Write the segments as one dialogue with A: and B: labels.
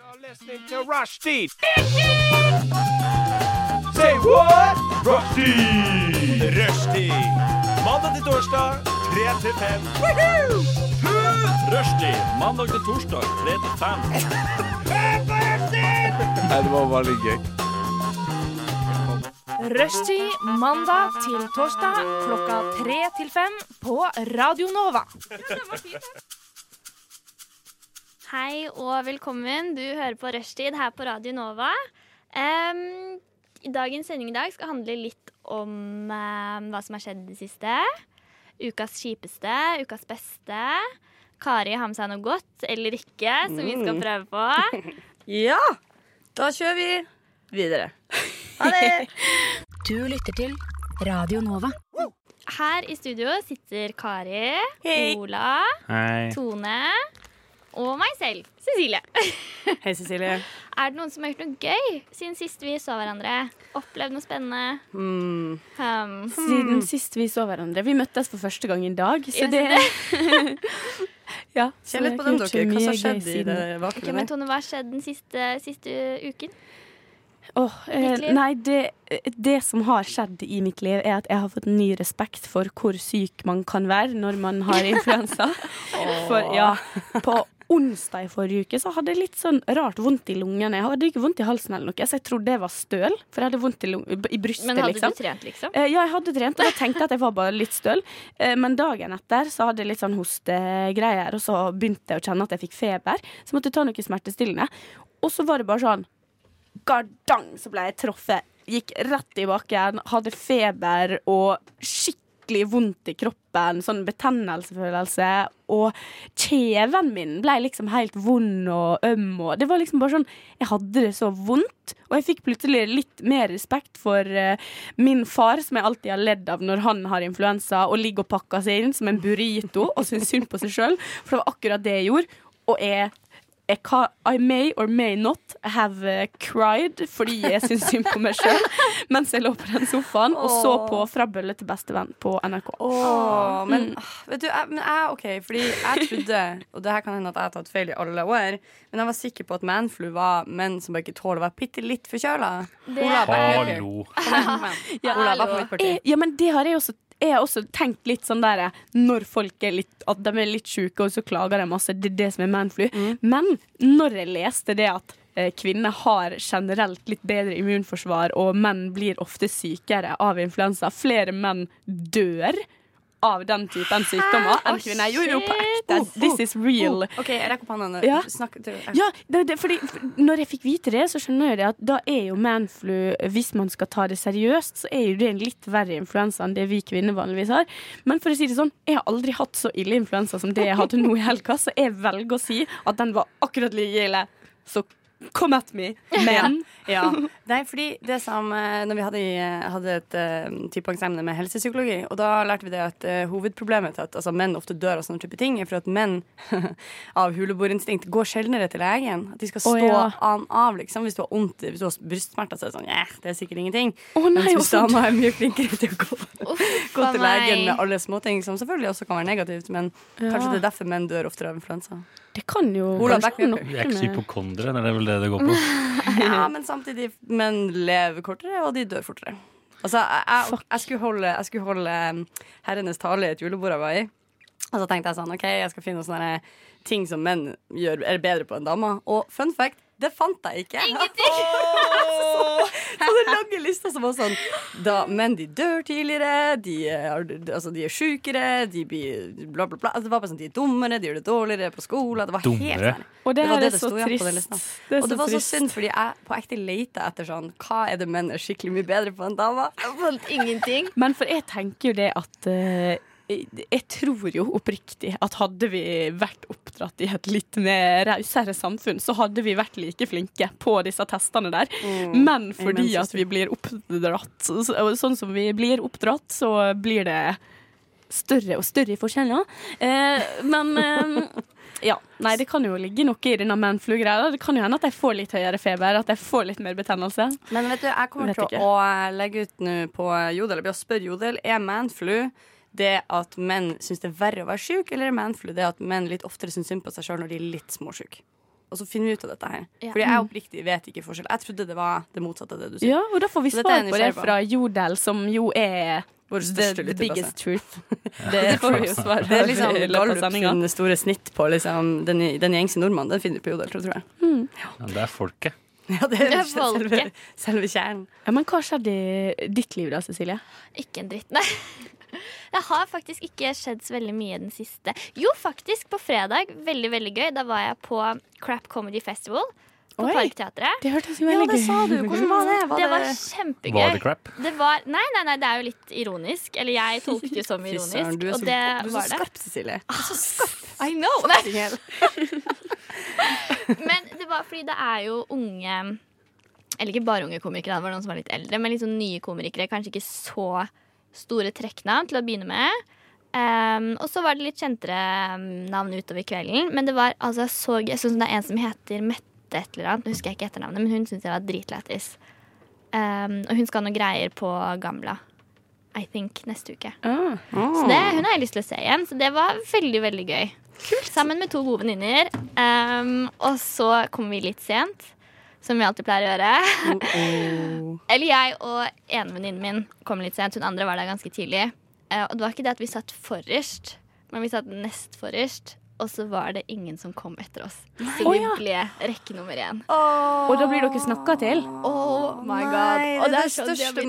A: are listening to Rushdie. Say what? Rushdie! Rushdie. Mandag til torsdag, 3 til 5. Rushdie. Mandag til torsdag, 3 til 5.
B: Rushtid mandag til torsdag klokka tre til fem på Radio Nova.
C: Hei og velkommen. Du hører på Rushtid her på Radio Nova. Em, i dagens sending i dag skal handle litt om em, hva som har skjedd i det siste. Ukas kjipeste, ukas beste. Kari har med seg noe godt eller ikke som vi skal prøve på.
D: Ja, da kjører vi videre. Ha det!
E: Du lytter til Radio Nova.
C: Her i studio sitter Kari,
D: Hei.
C: Ola,
A: Hei.
C: Tone og meg selv, Cecilie.
D: Hei, Cecilie.
C: Er det noen som har gjort noe gøy siden sist vi så hverandre? Opplevd noe spennende? Um,
F: Siden
D: Mm.
F: sist vi så hverandre. Vi møttes for første gang i dag. Så
C: Yes,
F: det ja, så
D: Kjenn litt
F: jeg
D: på
F: har
D: den,
F: gjort så
D: dere. Hva som
F: mye
D: har skjedd
F: gøy
D: i
F: siden.
D: det
C: Ok, men
D: vakuumet?
C: Tone, hva har skjedd den siste, siste uken?
F: Åh, eh,
C: ditt liv?
F: nei, det, det som har skjedd i mitt liv, er at jeg har fått ny respekt for hvor syk man kan være når man har influensa. For ja, på onsdag i forrige uke så hadde jeg litt sånn rart vondt i lungene. Jeg hadde ikke vondt i halsen eller noe, så jeg trodde det var støl. For jeg hadde vondt i, lung i brystet,
C: Men hadde
F: liksom.
C: du trent, liksom?
F: Eh, Ja, jeg hadde trent, og da tenkte jeg at jeg var bare litt støl. Eh, Men dagen etter så hadde jeg litt sånn hostegreier, og så begynte jeg å kjenne at jeg fikk feber. Så måtte jeg ta noe smertestillende. Og så var det bare sånn Gardang, så ble jeg truffet. Gikk rett i bakken, hadde feber og skikkelig vondt i kroppen. Sånn betennelsefølelse. Og kjeven min ble liksom helt vond og øm. Og det var liksom bare sånn Jeg hadde det så vondt. Og jeg fikk plutselig litt mer respekt for eh, min far, som jeg alltid har ledd av når han har influensa, og ligger og pakker seg inn som en burrito og syns synd på seg sjøl. For det var akkurat det jeg gjorde. Og jeg jeg kan, I may or may not have eh, cried fordi jeg syns synd på meg sjøl mens jeg lå på den sofaen og så på Fra bølle til bestevenn på NRK. Mm.
D: Åh, men ah, vet du, jeg, men jeg, ok, fordi jeg trodde Og det her kan hende at jeg har tatt feil i alle år Men jeg var sikker på at manflu var menn som bare ikke tåler å være pittelitt forkjøla
C: Det
D: Ola,
C: er
D: bare-
A: Hallo.
D: Kom igjen, kom igjen. Ola, bare på mitt parti
F: Eh, Ja, men det har jeg også jeg har også tenkt litt sånn der eh, når folk er litt, at de er litt sjuke, og så klager de masse. Det er det som er manflu. Men når jeg leste det at eh, kvinner har generelt litt bedre immunforsvar, og menn blir ofte sykere av influensa, flere menn dør av den typen sykdommer
C: Å,
F: enn kvinner. Jo, jo, på
C: shit.
F: ekte. This is real.
D: Ok, jeg rekker opp hånda
F: Ja.
D: Snakk til
F: Ja, det, det, fordi f- Når jeg fikk vite det, så skjønner jeg det at da er jo manflu Hvis man skal ta det seriøst, så er jo det en litt verre influensa enn det vi kvinner vanligvis har. Men for å si det sånn, jeg har aldri hatt så ille influensa som det jeg hadde nå i helga, så jeg velger å si at den var akkurat like ille. Så come at me. Men
D: Ja. Nei, fordi det som eh, Når vi hadde, i- hadde et eh, tipoengsemne med helsepsykologi, og da lærte vi det at eh, hovedproblemet til at altså, menn ofte dør av sånne type ting, er for at menn av huleboerinstinkt går sjeldnere til legen. At de skal stå
F: Å, ja.
D: an av, liksom. Hvis du har vondt, hvis du har brystsmerter, så er det sånn eh, det er sikkert ingenting.
F: Å, nei,
D: Mens
F: og
D: hvis damer
F: sånt.
D: er mye flinkere til å gå, gå
C: faen
D: til
C: meg.
D: legen med alle småting, som selvfølgelig også kan være negativt, men kanskje det er derfor menn dør oftere av influensa.
F: det kan jo
D: Ola,
F: kanskje
D: back me up.
F: noe
G: Vi er ikke
F: med-
G: hypokondere, det er vel det det går på.
D: Ja, men samtidig Menn lever kortere, og de dør fortere. Altså, jeg, jeg, jeg skulle holde, jeg skulle holde um, herrenes tale i et julebord jeg var i. Og så tenkte jeg sånn, ok, jeg skal finne sånne ting som menn gjør, er bedre på enn damer. Og fun fact, det fant jeg ikke. Ingenting! så den lange lista som var sånn da, Men de dør tidligere, de er, altså, de er sjukere, de blir bla, bla, bla. Altså, det var bare sånn, de er dummere, de gjør det dårligere på skolen. Det var helt
G: Dummere?
D: sånn.
F: Og det
D: var
F: her er så
D: sto, ja, på den
F: trist.
D: lista.
F: Det er
D: og
F: så
D: det var så
F: trist.
D: synd, fordi jeg på ekte leter etter sånn Hva er det menn er skikkelig mye bedre på enn damer?
C: ingenting.
F: Men for jeg tenker jo det at eh, jeg jeg tror jo oppriktig at hadde vi vært oppdratt i et litt mer rausere samfunn, så hadde vi vært like flinke på disse testene der. Men fordi
D: amen,
F: at vi blir oppdratt så- og sånn som vi blir oppdratt, så blir det større og større forskjeller. Eh, men eh, ja. Nei, det kan jo ligge noe i denne manflu-greia. Det kan jo hende at jeg får litt høyere feber, at jeg får litt mer betennelse.
D: Men vet du, jeg kommer
F: Vet
D: til
F: ikke.
D: å legge ut nå på Jodel. Jeg blir å spørre Jodel. Er manflu det at menn syns det er verre å være sjuk, eller er manflu det at menn litt oftere syns synd på seg sjøl når de er litt småsjuke? og så finner vi ut av dette her.
C: Ja.
D: Fordi jeg oppriktig vet ikke forskjell. Jeg trodde det var det motsatte av det du sier.
F: Ja, og da får vi
D: Så dette
F: svar
D: er
F: på
D: jeg
F: det
D: nysgjerrig på.
F: fra Jodel, som jo er
D: Vår
F: the,
D: største
F: the
D: lytterbase.
F: biggest truth. Det får vi jo svar på
D: Det er liksom
F: i løpet av
D: Gallup
F: sendinga.
D: sin store snitt på liksom, den, den gjengse nordmannen. Den finner du på Jodel, tror jeg.
G: Ja, det er folket.
D: Ja, det er
C: Det er
D: selve,
C: folket.
D: selve kjernen.
F: Ja, men hva skjedde i ditt liv da, Cecilie?
C: Ikke en dritt, nei. Det har faktisk ikke skjedd så veldig mye den siste. Jo, faktisk, på fredag. Veldig, veldig gøy. Da var jeg på Crap Comedy Festival på
F: Oi.
C: Parkteatret.
F: Det hørtes jo
D: Ja,
F: veldig
D: det sa du.
F: gøy ut.
D: Hvordan var det?
C: Det var
G: Var det
C: kjempegøy.
G: crap?
C: Det var, nei, nei, nei, det er jo litt ironisk. Eller jeg tolket det som
D: Fy søren,
C: ironisk,
D: du er
C: og
D: så,
C: det
D: du er så
C: var det.
D: skarp, Cecilie.
C: I know! Nei. Men det var fordi det er jo unge Eller ikke bare unge komikere, det var noen som var litt eldre, men litt sånn nye komikere. Kanskje ikke så store trekknavn til å begynne med. Ehm, og så var det litt kjentere ehm, navn utover kvelden. Men det var altså jeg så gøy. Sånn som det er en som heter Mette et eller annet. Nå husker jeg ikke etternavnet, men hun syntes jeg var dritlættis. Ehm, og hun skal ha noe greier på Gamla. I think neste uke.
F: Ah.
C: Så det, hun har jeg lyst til å se igjen, så det var veldig, veldig gøy. Sammen med to gode venninner. Um, og så kom vi litt sent, som vi alltid pleier å gjøre. Eller jeg og ene venninnen min kom litt sent. Hun andre var der ganske tidlig. Eh, og det var ikke det at vi satt forrest, men vi satt nest forrest. Og så var det ingen som kom etter oss. Så
F: Å,
C: vi
F: ja.
C: ble rekke nummer én.
F: Og da blir dere snakka til?
C: Oh my god.
D: Nei,
C: Og er
D: det er det
C: sånn har
D: største
C: blitt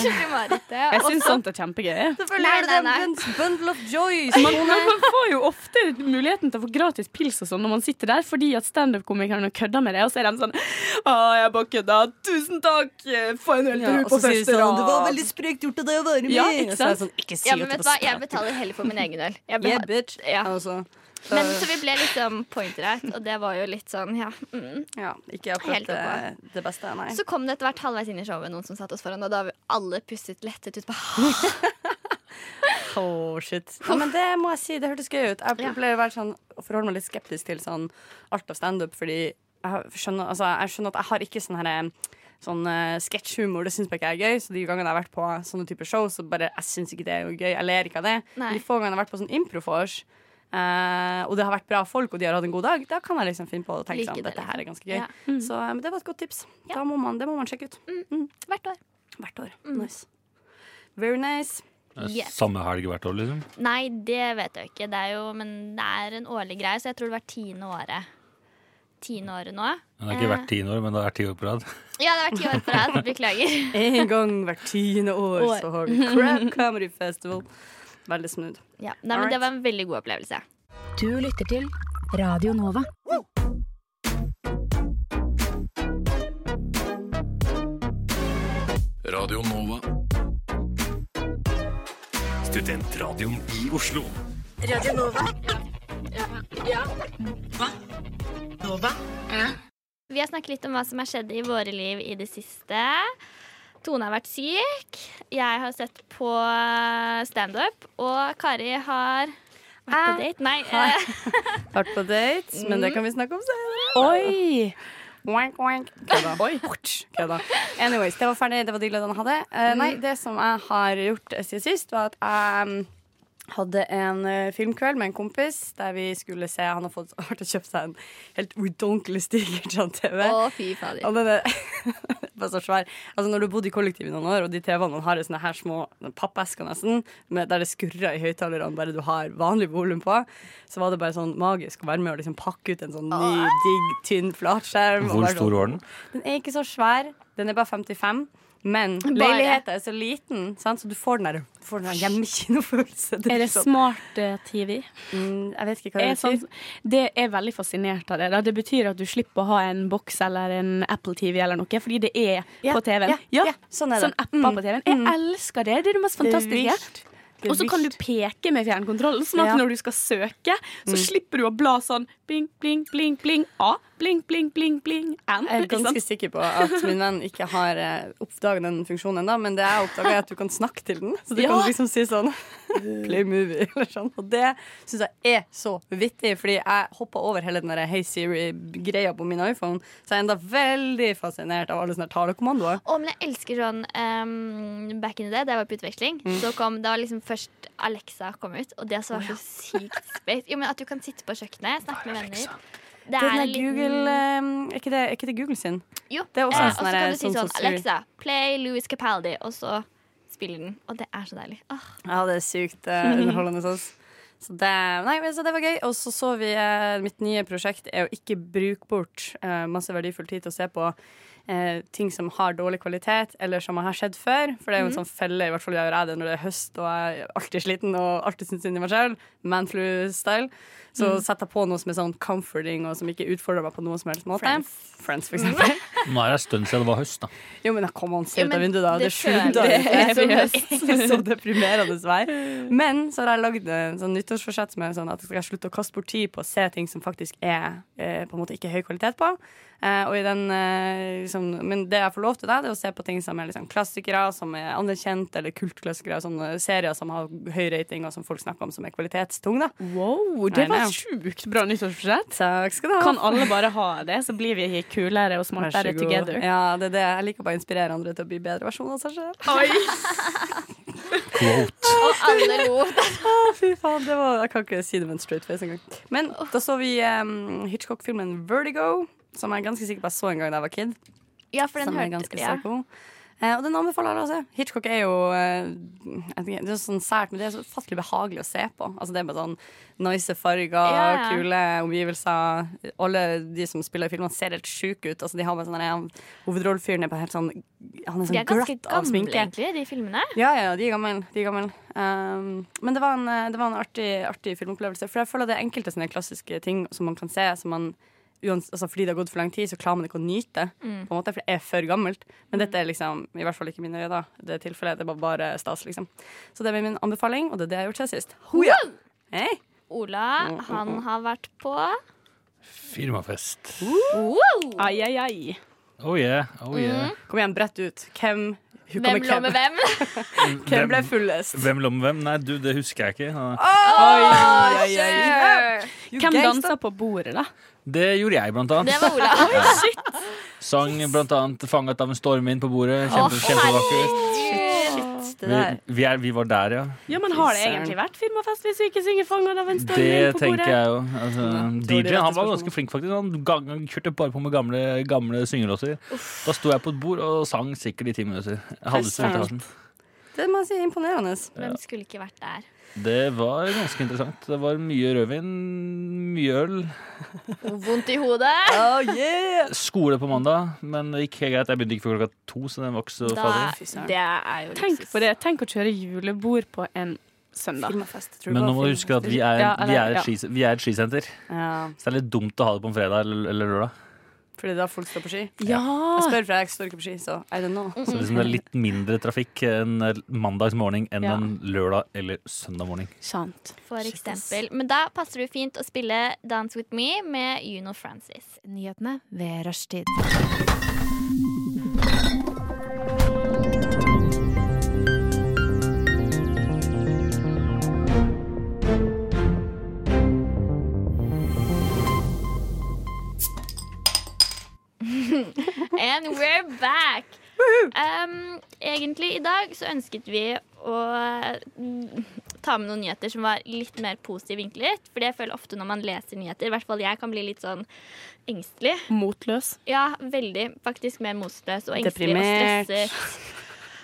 C: største marerittet.
F: Jeg
C: Og
F: syns
C: så-
F: sånt er kjempegøy.
D: Selvfølgelig
C: Nei,
D: er det
C: nei,
D: den
C: nei.
D: bun- bundle of joy. som-
F: Man, man får jo ofte muligheten til å få gratis pils og sånn når man sitter der, fordi at standup-komikerne kødder med det, og så er de sånn Å, jeg bare kødda. Tusen takk! Få en øl til
D: Ja,
F: sånn, du på første
D: sånn,
F: rad.
D: sprekt gjort av deg å være
F: Ja, ikke
D: Og så er det
F: sant?
D: sånn, ikke si
C: Ja,
D: at
C: men
D: det
C: vet du
D: var
C: hva, jeg
D: sprekt.
C: betaler heller for min egen øl. Jeg
D: Yeah,
C: betaler.
D: bitch.
C: Ja.
D: Altså,
C: Men så vi ble liksom pointed out, og det var jo litt sånn, ja. Mm.
D: ja, ikke
C: Helt
D: akkurat
C: oppå.
D: eh, det beste, nei.
C: Så kom det etter hvert halvveis inn i showet noen som satt oss foran, og da har vi alle pustet lettet ut. Bare,
D: Oh, shit. Ja, men det må jeg si, det hørtes gøy ut. Jeg pleier å være sånn, å forholde meg litt skeptisk til sånn alt av standup, fordi jeg har- skjønner, altså, jeg skjønner at jeg har ikke sånn her Sånn eh, sketsjhumor det syns jeg ikke er gøy. Så de gangene jeg har vært på sånne typer show, så bare jeg syns ikke det er noe gøy. Jeg ler ikke av det.
C: Nei.
D: Men De få gangene jeg har vært på sånn improfors, eh, og det har vært bra folk, og de har hatt en god dag, da kan jeg liksom finne på å tenke
C: Like
D: sånn
C: det, liksom.
D: dette her er ganske gøy.
C: Ja. Mm.
D: Så eh, men det var et godt tips. Da må man, det må man sjekke ut.
C: Hvert år.
D: Hvert år.
C: Mm.
D: Nice. Very nice.
C: Yes.
G: Samme helg hvert år, liksom.
C: Nei, det vet jeg ikke. Det er jo, men det er en årlig greie, så jeg tror det var tiende året. Tiende året nå.
G: Men Det har ikke vært tiende år, men det er ti år på rad.
C: Ja, det har vært ti år på rad. Beklager.
D: En gang hvert tiende år,
C: År.
D: så har vi Crab Comedy Festival. Veldig smooth.
C: Ja. Nei, men det var en veldig god opplevelse.
E: Du lytter til Radio Nova.
H: Radio Nova.
A: Studentradioen i Oslo.
C: Vi har snakket litt om hva som har skjedd i våre liv i det siste. Tone har vært syk. Jeg har sett på eh, standup. Og Kari har vært på date. Nei, eh,
D: Vært på dates, men det kan vi snakke om senere.
F: Oi!
D: Wank, wank. Kødda. Kødda. Anyways, det var ferdig. Det var de løddene jeg hadde. Eh, nei, det som jeg har gjort siden sist, var at jeg mm, hadde en eh, filmkveld med en kompis der vi skulle se Han har fått har vært og kjøpt seg en helt udonkelig stiger til TV.
C: Å, fy fader.
D: Og den er bare så svær. Altså, når du har bodd i kollektiv i noen år, og de TV-ene man har, er sånne her små pappesker nesten, med, der det skurrer i høyttalerne bare du har vanlig volum på, så var det bare sånn magisk å være med og liksom pakke ut en sånn ny, digg, tynn flatskjerm. og
G: Hvor
D: bare sånn-
G: stor var den?
D: den er ikke så svær. Den er bare 55. Men leiligheten er så liten, sant? så du får den der, du får den der hjemmekinofølelse.
F: Er det
D: sånn-
F: smart eh, TV?
D: Mm, Jeg vet ikke hva
F: Er
D: det
F: sånn,
D: betyr.
F: det er veldig fascinert av det. Da. Det betyr at du slipper å ha en boks eller en Apple TV eller noe, fordi det er
D: Ja,
F: på TV-en.
D: ja, ja, sånn er det.
F: apper
D: Mm,
F: på TV-en. Jeg elsker det. Det er det mest fantastiske.
D: Det er
F: Og så kan du
D: vilt.
F: peke med fjernkontrollen, sånn at
D: Ja. Mm.
F: når du skal søke, så slipper du å bla sånn bling, bling, bling, bling, A, bling, bling, bling, bling, N.
D: Jeg er
F: Ikke sant?
D: ganske sikker på at min venn ikke har eh, oppdaget den funksjonen ennå, men det jeg oppdaga, er at du kan snakke til den. Så du
F: Ja.
D: kan liksom si sånn Play movie, eller sånn. Og det syns jeg er så vittig, fordi jeg hoppa over hele den der Hey Siri-greia på min iPhone, så jeg er enda veldig fascinert av alle sånne talekommandoer.
C: Å, men jeg elsker sånn ehm, back in the day, da jeg var på utveksling.
D: Mm.
C: Så kom, da var liksom først Alexa kom ut, og det som var så sykt space. Jo, men At du kan sitte på kjøkkenet, snakke med venner. Det
D: Den
C: er
D: er
C: en liten-
D: Google eh, er, ikke det, er ikke det Google sin?
C: Jo.
D: Det er også en
C: og så
D: sånn
C: kan
D: her-
C: du si
D: sånn
C: sånn
D: som Siri.
C: Alexa, play Louis Capaldi, og så spiller den. Og det er så deilig. Åh,
D: Ja, det er sykt eh, underholdende sånn. Så det, nei, men så det var gøy. Og så så vi eh, Mitt nye prosjekt er å ikke bruke bort eh, masse verdifull tid til å se på eh, ting som har dårlig kvalitet, eller som har skjedd før. For det er jo en
C: Mhm.
D: sånn felle, i hvert fall gjør jeg det når det er høst og jeg er alltid sliten og alltid syns synd i meg sjøl. Manflu-style. Så
C: Mhm.
D: setter jeg på noe som er sånn comforting, og som ikke utfordrer meg på noen som helst måte. Friends, for eksempel.
G: Nå er det en stund siden det var høst, da.
D: Jo, men da kom han se
C: Ja,
D: ut av
C: men
D: vinduet, da.
C: det
D: Det, slutter
C: føler jeg
D: ikke.
C: som
D: Seriøst. Så deprimerende vær. Men så har jeg lagd en sånn nyttårsforsett som er sånn at jeg skal slutte å kaste bort tid på å se ting som faktisk er eh, på en måte ikke høy kvalitet på. Eh, og i den, eh, liksom, men det jeg får lov til, da, det er å se på ting som er liksom, klassikere, som er anerkjent, eller kultklassikere, sånne serier som har høy rating, og som folk snakker om som er kvalitetstung, da.
F: Wow, det
D: I
F: var
D: know.
F: sjukt bra nyttårsbudsjett.
D: Takk skal du ha.
F: Kan alle bare ha det, så blir vi kulere og
D: Vær
F: smartere
D: så god.
F: together.
D: Ja, det er det. Jeg liker bare å inspirere andre til å bli bedre versjoner av seg selv.
G: Quote.
C: og alle lo.
D: Å, fy faen, det var, Jeg kan ikke si det med en straight face engang. Men da så vi em, Hitchcock-filmen Vertigo, som jeg er ganske sikker på jeg så en gang da jeg var kid.
C: Ja, for den
D: som er
C: hørte
D: ganske
C: ja.
D: psycho. Eh, og den anbefaler jeg å se. Hitchcock er jo eh, jeg vet ikke, Det er sånn sært, men det er så ufattelig behagelig å se på. Altså Det er bare sånn nice farger,
C: Ja, ja.
D: kule omgivelser. Alle de som spiller i filmene, ser helt sjuke ut. Altså De har bare sånn han- Hovedrollefyren er bare helt sånn Han er
C: De
D: sånn
C: er ganske
D: glatt av
C: gamle,
D: sminke.
C: egentlig, de filmene.
D: Ja, ja, de er gamle. De er gammel. Um, men det var en, eh, det var en artig, artig filmopplevelse. For jeg føler det er enkelte sånne klassiske ting som man kan se. Som man, uans, altså fordi det har gått for lang tid, så klarer man ikke å nyte det.
F: Mm.
D: På en måte, for det er for gammelt. Men dette er liksom, i hvert fall ikke mine øyne. da. Det tilfellet, det var bare stas, liksom. Så det er min anbefaling, og det er det jeg har gjort siden sist. Hoia! Hei!
C: Ola,
D: Mm,
C: han har vært på
G: Firmafest.
F: Ai, ai, ai.
G: Oh yeah. Oh yeah.
D: Kom igjen, brett ut. Hvem huka
C: Hvem
D: med
C: lå
D: hvem?
C: med hvem?
D: Hvem ble fullest?
G: Hvem lå med hvem? Nei, du, det husker jeg ikke. Ja.
D: Oi, oi, oi.
C: Sure.
D: You
F: Hvem
D: gangsta.
F: danser på bordet, da?
G: Det gjorde jeg, blant annet.
C: Det var Ola.
G: Sang blant annet 'Fanget av en stormvind' på bordet. Kjempe, kjempevakkert.
D: Det
G: Vi,
D: der.
G: vi, er, vi var der, ja.
F: Ja, men Har det egentlig vært firmafest hvis vi ikke synger 'Fanga av en
G: Det
F: stormvind' på
G: tenker
F: bordet?
G: jeg jo. Altså,
D: det var de
G: DJ-en
D: rette
G: han var ganske
D: spørsmålene.
G: flink, faktisk. Han ga- kjørte bare på med gamle, gamle syngelåter. Da sto jeg på et bord og sang sikkert i ti minutter. Jeg hadde så vondt i halsen.
D: Det må jeg si er imponerende.
C: Hvem skulle ikke vært der?
G: Det var ganske interessant. Det var mye rødvin, mye øl.
C: Vondt i hodet?
D: Oh, yeah.
G: Skole på mandag, men det gikk helt greit. Jeg begynte ikke før klokka to, så den var ikke så
C: Da,
G: farlig.
D: Fy søren.
C: det er jo
F: Tenk på det. Tenk å kjøre julebord på en søndag.
D: Filmfest, tror jeg
G: Men
D: det
G: nå
D: var
G: må du huske at vi er,
F: Ja,
G: vi
F: eller-
G: er, et, skis- vi er et skisenter,
D: filmfest. ja.
G: så det er litt dumt å ha det på en fredag eller, eller lørdag.
D: Fordi da folk står på ski.
C: Ah.
D: Jeg
F: Ja!
D: spør, for jeg står ikke på ski, så I don't know.
C: Mm.
G: Så liksom det er litt mindre trafikk en mandagsmorgen enn
F: Ja.
G: en lørdag eller søndag morgen.
F: Sant.
C: for eksempel. Men da passer det fint å spille Dance With Me med Juno Francis.
E: Nyhetene ved rushtid.
C: And we're back! Um, egentlig i dag så ønsket vi å mm, ta med noen nyheter som var litt mer positivt vinklet. For jeg føler ofte når man leser nyheter, i hvert fall jeg kan bli litt sånn engstelig.
F: Motløs.
C: Ja, veldig. Faktisk mer motløs og engstelig
D: Deprimert.
C: og stresser.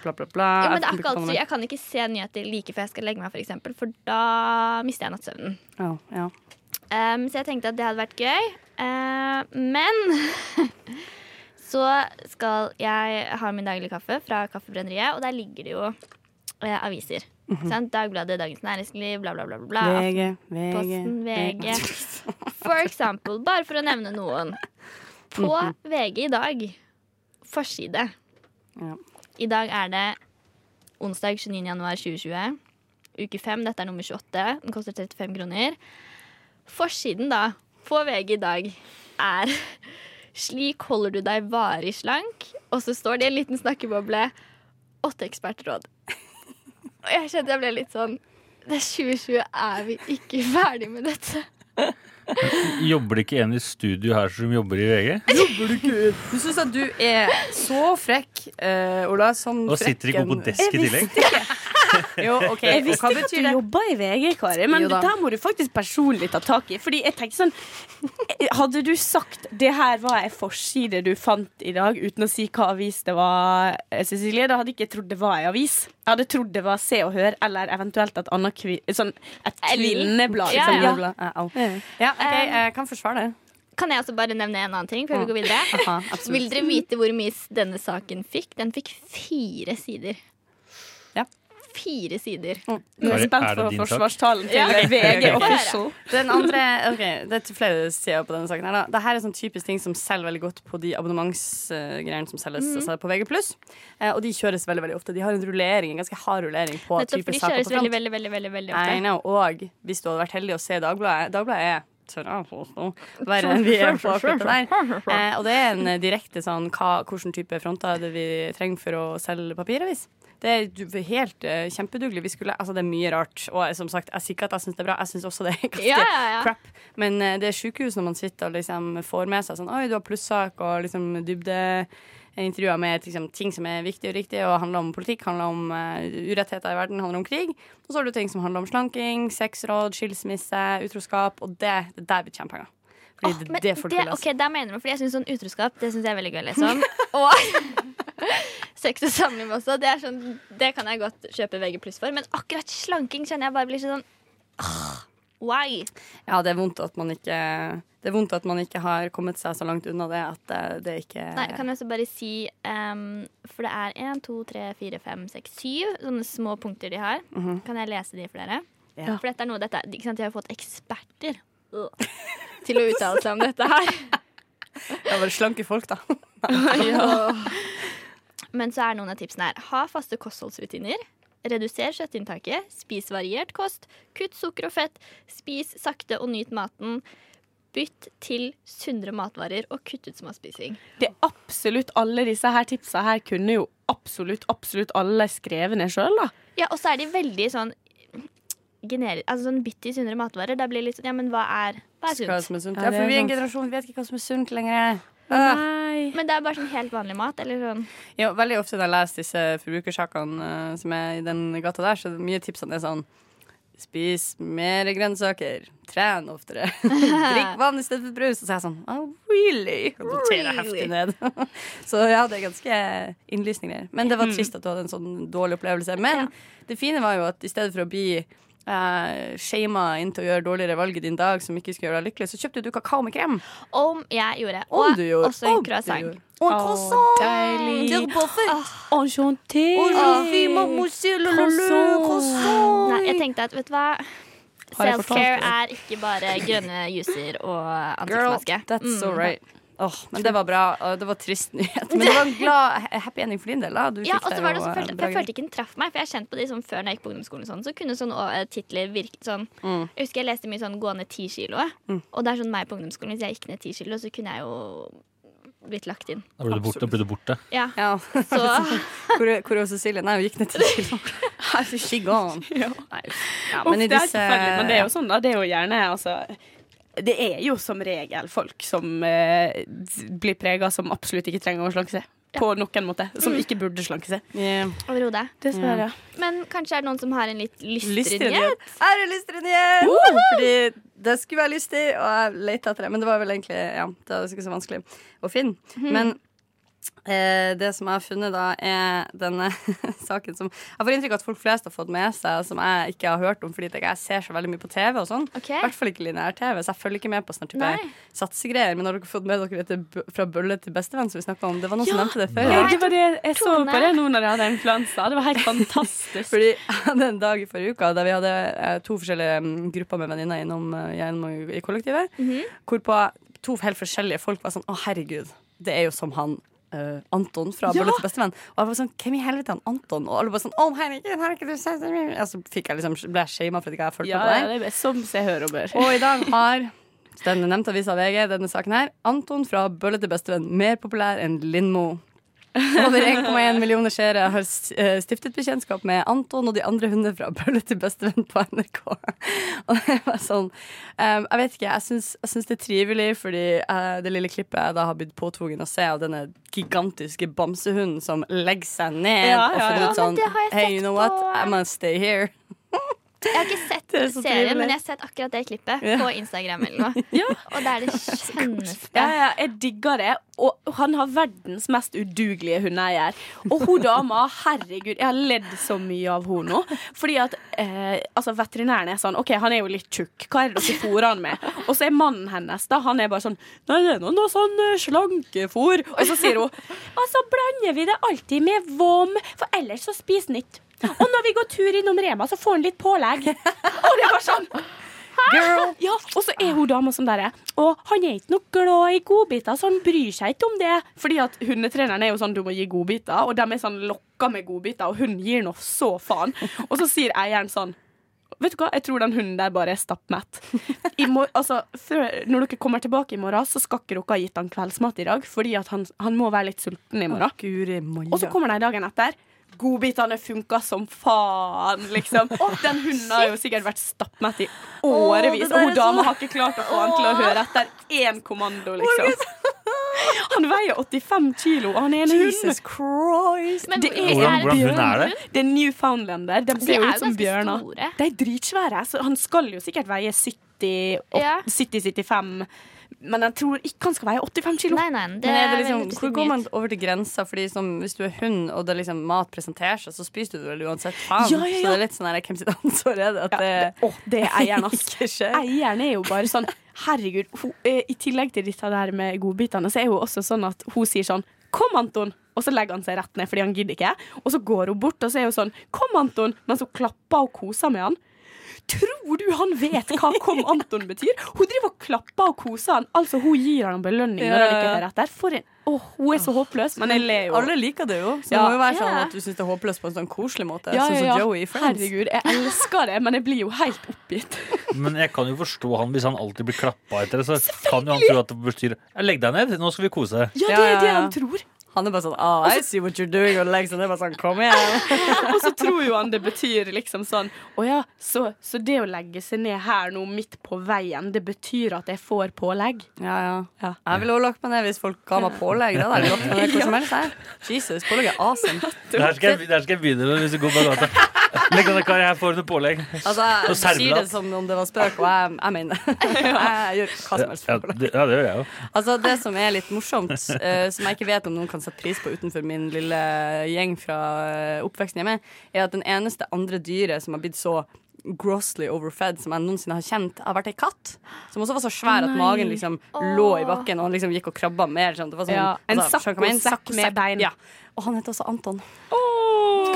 D: Bla, bla, bla.
C: Jo, men det er
D: Jeg
C: ikke
D: kan
C: alltid, jeg kan ikke se nyheter like før jeg skal legge meg, for eksempel, for da mister jeg nattsøvnen.
D: Ja, ja.
C: Um, så jeg tenkte at det hadde vært gøy. Eh, men så skal jeg ha min daglige kaffe fra Kaffebrenneriet, og der ligger det jo eh, aviser. Sant? Dagbladet, Dagens Næringsliv, bla, bla, bla. bla, bla.
D: VG, VG,
C: Aftenposten, VG. For eksempel, bare for å nevne noen. På VG i dag, forside.
D: Ja.
C: I dag er det onsdag 29. januar 2020. Uke 5, dette er nummer 28. Den koster 35 kroner. Forsiden da, på VG i dag, er Slik holder du deg varig slank. Og så står det i en liten snakkeboble åtte ekspertråd. Og jeg kjente jeg ble litt sånn Det er 2020, er vi ikke ferdig med dette?
G: Jobber det ikke en i studio her som jobber i VG?
D: Du syns at du er så frekk, eh, Ola. Som
G: Og sitter ikke
D: frekken-
G: på desk i
D: Jeg visste
G: tillegg?
D: ikke. Jo, ok,
F: Jeg
D: og
F: visste
D: hva
F: ikke at
D: betyr
F: du
D: det?
F: jobba i VG, Kari, men
D: Jo da.
F: det der må du faktisk personlig ta tak i. Fordi jeg tenkte sånn Hadde du sagt 'det her var ei forside du fant i dag', uten å si hva avis det var, eh, Cecilie, da hadde ikke jeg trodd det var ei avis. Jeg hadde trodd det var Se og Hør, eller eventuelt et annet kvi, sånn, et
C: Eller-
F: kvinneblad.
C: Ja,
F: liksom.
C: ja.
D: Ja, au. Ja, ok, jeg kan forsvare det.
C: Kan jeg også bare nevne en annen ting før vi går videre?
D: Aha,
C: Vil
D: absolutt.
C: dere vite hvor mye s- denne saken fikk? Den fikk fire sider.
D: Ja.
C: Fire sider.
F: Nå er
G: Kari,
F: jeg spent
G: er det
F: for
G: din sak?
F: forsvarstalen til VG
D: ok.
F: official.
D: Den andre, ok, Det er flere sider på denne saken. her da Dette er sånn typisk ting som selger veldig godt på de abonnementsgreiene som selges
C: Mm.
D: altså, på VG+. Eh, og de kjøres veldig veldig ofte. De har en rullering, en ganske hard rullering på
C: Nettopp, for
D: type
C: de
D: saker
C: kjøres
D: på
C: veldig,
D: front.
C: veldig, veldig, veldig, veldig
D: I
C: ofte.
D: know. Og hvis du hadde vært heldig å se Dagbladet Dagbladet er tørre på å stå verre enn vi er på akkurat det der. Eh, og det er en eh, direkte sånn hva, hvilken type fronter er det vi trenger for å selge papiravis. Det er du- helt eh, kjempedugelig. Vi skulle, altså, det er mye rart. Og eh, som sagt, jeg sier ikke at jeg syns det er bra. Jeg syns også det er ganske
C: Ja, ja, ja.
D: crap. Men eh, det er sjukehus når man sitter og liksom får med seg sånn Oi, du har plussak og liksom dybde. Intervjuer med liksom, ting som er viktig og riktig, og handler om politikk, handler om eh, urettigheter i verden, handler om krig. Og så har du ting som handler om slanking, sexråd, skilsmisse, utroskap, og det, det der blir tjener penger. Fordi
C: Åh,
D: det,
C: men
D: det folk vil lese.
C: ok, der mener du, fordi jeg synes sånn utroskap Det synes jeg er veldig gøy å lese om. Og sex og samliv også. Det, er sånn, det kan jeg godt kjøpe VG pluss for. Men akkurat slanking kjenner jeg bare blir sånn ah, Why?
D: Ja, det er vondt at man ikke det er vondt at man ikke har kommet seg så langt unna det at eh, det ikke
C: Nei, kan jeg også bare si ehm, For det er 1, 2, 3, 4, 5, 6, 7 sånne små punkter de har. Kan jeg lese de for dere?
D: Mhm. Ja.
C: For dette er noe dette, er- ikke sant, De har jo fått eksperter øh, til å uttale seg om dette her.
D: Det er bare slanke folk, da.
C: Men så er noen av tipsene her. Ha faste kostholdsrutiner. Reduser kjøttinntaket. Spis variert kost. Kutt sukker og fett. Spis sakte og nyt maten. Bytt til sunnere matvarer og kutt ut småspising.
F: Det er absolutt alle disse her tipsa her kunne jo absolutt, absolutt alle skrevet ned sjøl, da.
C: Ja, og så er de veldig sånn generi- Altså sånn bytt til sunnere matvarer. Da blir det litt sånn Ja, men hva er, hva er
D: Hva
C: sunt?
D: som er sunt.
F: Ja,
D: Ja,
F: det
D: for
F: er
D: vi er en
F: sant.
D: generasjon, vi vet ikke hva som er sunt lenger. Øh.
F: Nei.
C: Men det er bare sånn helt vanlig mat. Eller sånn
D: Ja, veldig ofte når jeg leser disse forbrukersakene eh, som er i den gata der, så er det mye tipsene er sånn Spis mer grønnsaker. Tren oftere. Drikk vann istedenfor brus. Og så er jeg sånn oh, Really? Og så tjener jeg heftig ned. så ja, det er ganske innlysende greier. Men det var trist at du hadde en sånn dårlig opplevelse. Men det fine var jo at i stedet for å bli Uh, Shama inn til å gjøre dårligere valg i din dag som ikke skulle gjøre deg lykkelig, så kjøpte du kakao med krem.
C: Om jeg gjorde.
D: Om
C: Og
D: du gjorde.
C: også en
D: om du
C: croissant.
D: gjorde. Og en croissant! Turbofett.
F: Enchanté.
C: Nei, jeg tenkte at, vet du hva
D: Har jeg fortalt
C: Self-care
D: deg?
C: er ikke bare grønne juicer og
D: Girl,
C: ansiktsmaske.
D: that's
C: Mm.
D: all right. Åh, men det var bra. og Det var trist nyhet. Men det var en glad happy ending for din del. Da. Du
C: Ja,
D: fikk
C: og så
D: deg
C: var det
D: jo,
C: også
D: eh,
C: følte, for
D: bra
C: Jeg
D: greier.
C: følte ikke den traff meg, for jeg har kjent på de sånn før når jeg gikk på ungdomsskolen. og Sånn, så kunne sånne eh, titler virke sånn
D: Mm.
C: Jeg husker jeg leste mye sånn 'gå ned ti kilo', og det er sånn meg på ungdomsskolen. Hvis jeg gikk ned ti kilo, så kunne jeg jo blitt lagt inn.
G: Da ble du borte. Da ble du borte.
C: Ja,
D: Ja.
C: så
D: Hvor, hvor er Cecilie? Nei, hun gikk ned til kilo. Herregud, She gone. Nei. Ja,
F: Uff,
D: men i
F: det er
D: disse
F: forferdelig, men det er jo sånn, da. Det er jo gjerne altså det er jo som regel folk som eh, d- blir prega som absolutt ikke trenger å slanke seg. På noen måte. Som ikke burde slanke seg. Mm.
D: Yeah.
C: overhodet.
F: Dessverre.
C: Men kanskje er det noen som har en litt lystre
D: Lystre
C: nyhet?
D: nyhet. Her er lystre nyhet! Fordi det skulle være lystig, og jeg lette etter det. Men det var vel egentlig ja, det var ikke så vanskelig å finne. Men eh, det som jeg har funnet, da, er denne saken som Jeg får inntrykk av at folk flest har fått med seg, som jeg ikke har hørt om fordi at jeg ser så veldig mye på TV og sånn.
C: Ok.
D: I hvert fall ikke lineær-TV, så jeg følger ikke med på sånne type
C: Nei.
D: satsegreier. Men har dere fått med dere dette b- fra bølle til bestevenn som vi snakka om? Det var noen som
F: Ja.
D: nevnte det før.
F: Jeg, det var det, jeg så
C: Tone.
F: på det nå når jeg hadde influensa. Det var helt fantastisk.
D: Fordi jeg hadde en dag i forrige uka der vi hadde eh, to forskjellige mm, grupper med venninner innom, eh, gjennom i kollektivet.
F: Mhm.
D: Hvorpå to helt forskjellige folk var sånn Å, herregud, det er jo som han. eh, Anton fra
F: Ja!
D: Bølle til bestevenn. Og jeg var sånn, hvem i helvete er han Anton? Og alle bare sånn, å herregud, har ikke du sett det?» Og så fikk jeg liksom, ble jeg shama for at jeg ikke har fulgt
F: Ja,
D: med på det.
F: ja, det er som seg hør og bør.
D: Og i dag har den nevnte avisa VG denne saken her. Anton fra Bølle til bestevenn, mer populær enn Lindmo. Over 1,1 millioner seere har s- eh, stiftet bekjentskap med Anton og de andre hundene fra Bølle til bestevenn på NRK. Og det var sånn ehm, Jeg vet ikke, jeg syns, jeg syns det er trivelig, fordi eh, det lille klippet jeg da har blitt påtvungen å se av denne gigantiske bamsehunden som legger seg ned
F: Ja,
D: og
F: ja,
D: finner
F: ja.
D: ut sånn
C: det har jeg
D: Hey,
C: sett
D: you know
C: på-
D: what? I must stay here.
C: Jeg har ikke sett
D: er så
C: serien,
D: trivelig.
C: men jeg har sett akkurat det klippet
D: Ja.
C: på Instagram. eller noe Og det er det skjønneste.
F: Ja, ja, jeg digger det. Og han har verdens mest udugelige hundeeier. Og hun dama, herregud, jeg har ledd så mye av henne nå. Fordi at eh, altså, veterinæren er sånn OK, han er jo litt tjukk, hva er det dere fôrer han med? Og så er mannen hennes, da, han er bare sånn Nei, det er nå noe sånn eh, slankefôr. Og så sier hun Og så blander vi det alltid med vom, for ellers så spiser han ikke. Og når vi går tur innom Rema, så får han litt pålegg. Og det var sånn Girl. Ja, og så er hun dama som der er. Og han er ikke noe glad i godbiter, så han bryr seg ikke om det. Fordi at hundetreneren er jo sånn du må gi godbiter, og de er sånn lokka med godbiter, og hun gir nå så faen. Og så sier eieren sånn Vet du hva, jeg tror den hunden der bare er stappmett. I mor altså, før, når dere kommer tilbake i morgen, så skal ikke dere ha gitt han kveldsmat i dag, fordi at han, han må være litt sulten i morgen.
D: Guri
F: Og så
D: malla.
F: kommer de dagen etter. Godbitene funka som faen, liksom. Den hunden har jo sikkert vært stappmett i årevis,
D: det der
F: og
D: er
F: hun dama
D: sånn-
F: har ikke klart å få han til å høre etter én kommando, liksom. Han veier 85 kilo, og han er en hund.
D: Jesus Christ.
C: Men
F: Det
C: hvor-
F: er
C: det
G: Hvordan, hvordan
C: bjørn?
G: hund er det?
F: Det er Newfoundlander. De
C: De er
F: ser jo
C: jo
F: ut
D: sånn
F: som
C: ganske
F: bjørner.
C: store.
F: De er dritsvære, så han skal jo sikkert veie 70 opp-
C: Ja.
F: 70-75, men jeg tror ikke han skal veie 85 kilo.
C: Nei, nei, det
D: Men er
C: er
D: det liksom,
C: veldig
D: hvor går man
C: mye.
D: over til grensa? Fordi som, Hvis du er hund, og det er liksom mat presenterer seg, så spiser du det vel uansett faen.
F: Ja, ja, ja.
D: Så det er litt sånn her, hvem sitt ansvar er det at
F: Ja,
D: det
F: det, å, det er eieren, ass.
D: ikke skjer?
F: Eieren er jo bare sånn Herregud, hun, eh, i tillegg til dette der med godbitene, så er hun også sånn at hun sier sånn Kom, Anton! Og så legger han seg rett ned fordi han gidder ikke. Og så går hun bort og så er hun sånn Kom, Anton! Mens hun klapper og koser med han. Tror du han vet hva 'kom Anton' betyr? Hun driver og klapper og koser han. Altså, hun gir han en belønning når
D: Ja,
F: han
D: ja,
F: ikke
D: ja.
F: er rett der. For en Å, hun er så håpløs. Men jeg ler jo.
D: Alle sånn liker det jo. Så
F: Ja.
D: det må jo være sånn
C: Ja.
D: at du syns det er håpløst på en sånn koselig måte.
F: Ja,
D: sånn
F: ja,
D: som
F: ja.
D: Joey i Friends.
F: Herregud, jeg elsker det, men jeg blir jo helt oppgitt.
G: Men jeg kan jo forstå han hvis han alltid blir klappa etter det. Så kan jo han tro at det betyr «Ja, Legg deg ned, nå skal vi kose.
F: Ja,
D: Ja,
F: det er
D: ja,
F: det
D: ja.
F: han tror.
D: Han er bare sånn ah, I see what you're doing og legs, og det er bare sånn Kom igjen.
F: Og så tror jo han det betyr liksom sånn Å ja, så, så det å legge seg ned her nå midt på veien, det betyr at jeg får pålegg?
D: Ja, ja.
F: Ja.
D: Jeg ville også lagt meg ned hvis folk ga meg pålegg. Da hadde jeg lagt meg ned hvor som helst. jeg. Jesus, pålegg er awesome.
G: Det her skal jeg, det her skal jeg begynne med hvis du går på gata. Legg deg ned, kar. Jeg får noe pålegg.
D: Altså,
G: Og
D: jeg sier
G: servelat.
D: det som om det var spøk, og jeg, jeg mener det. Jeg gjør hva som helst.
G: Ja,
D: for det.
G: det, ja, det gjør jeg jo.
D: Altså Det som er litt morsomt, eh, som jeg ikke vet om noen kan sette pris på utenfor min lille gjeng fra eh, oppveksten hjemme, er at den eneste andre dyret som har blitt så grossly overfed som jeg noensinne har kjent, har vært ei katt. Som også var så svær at magen liksom lå i bakken, og han liksom gikk og krabba mer. Sånn. Det var sånn,
F: Ja, altså, en
D: skjønner du hva jeg mener?
F: saccosekk med bein.
D: Ja. Og han heter også Anton.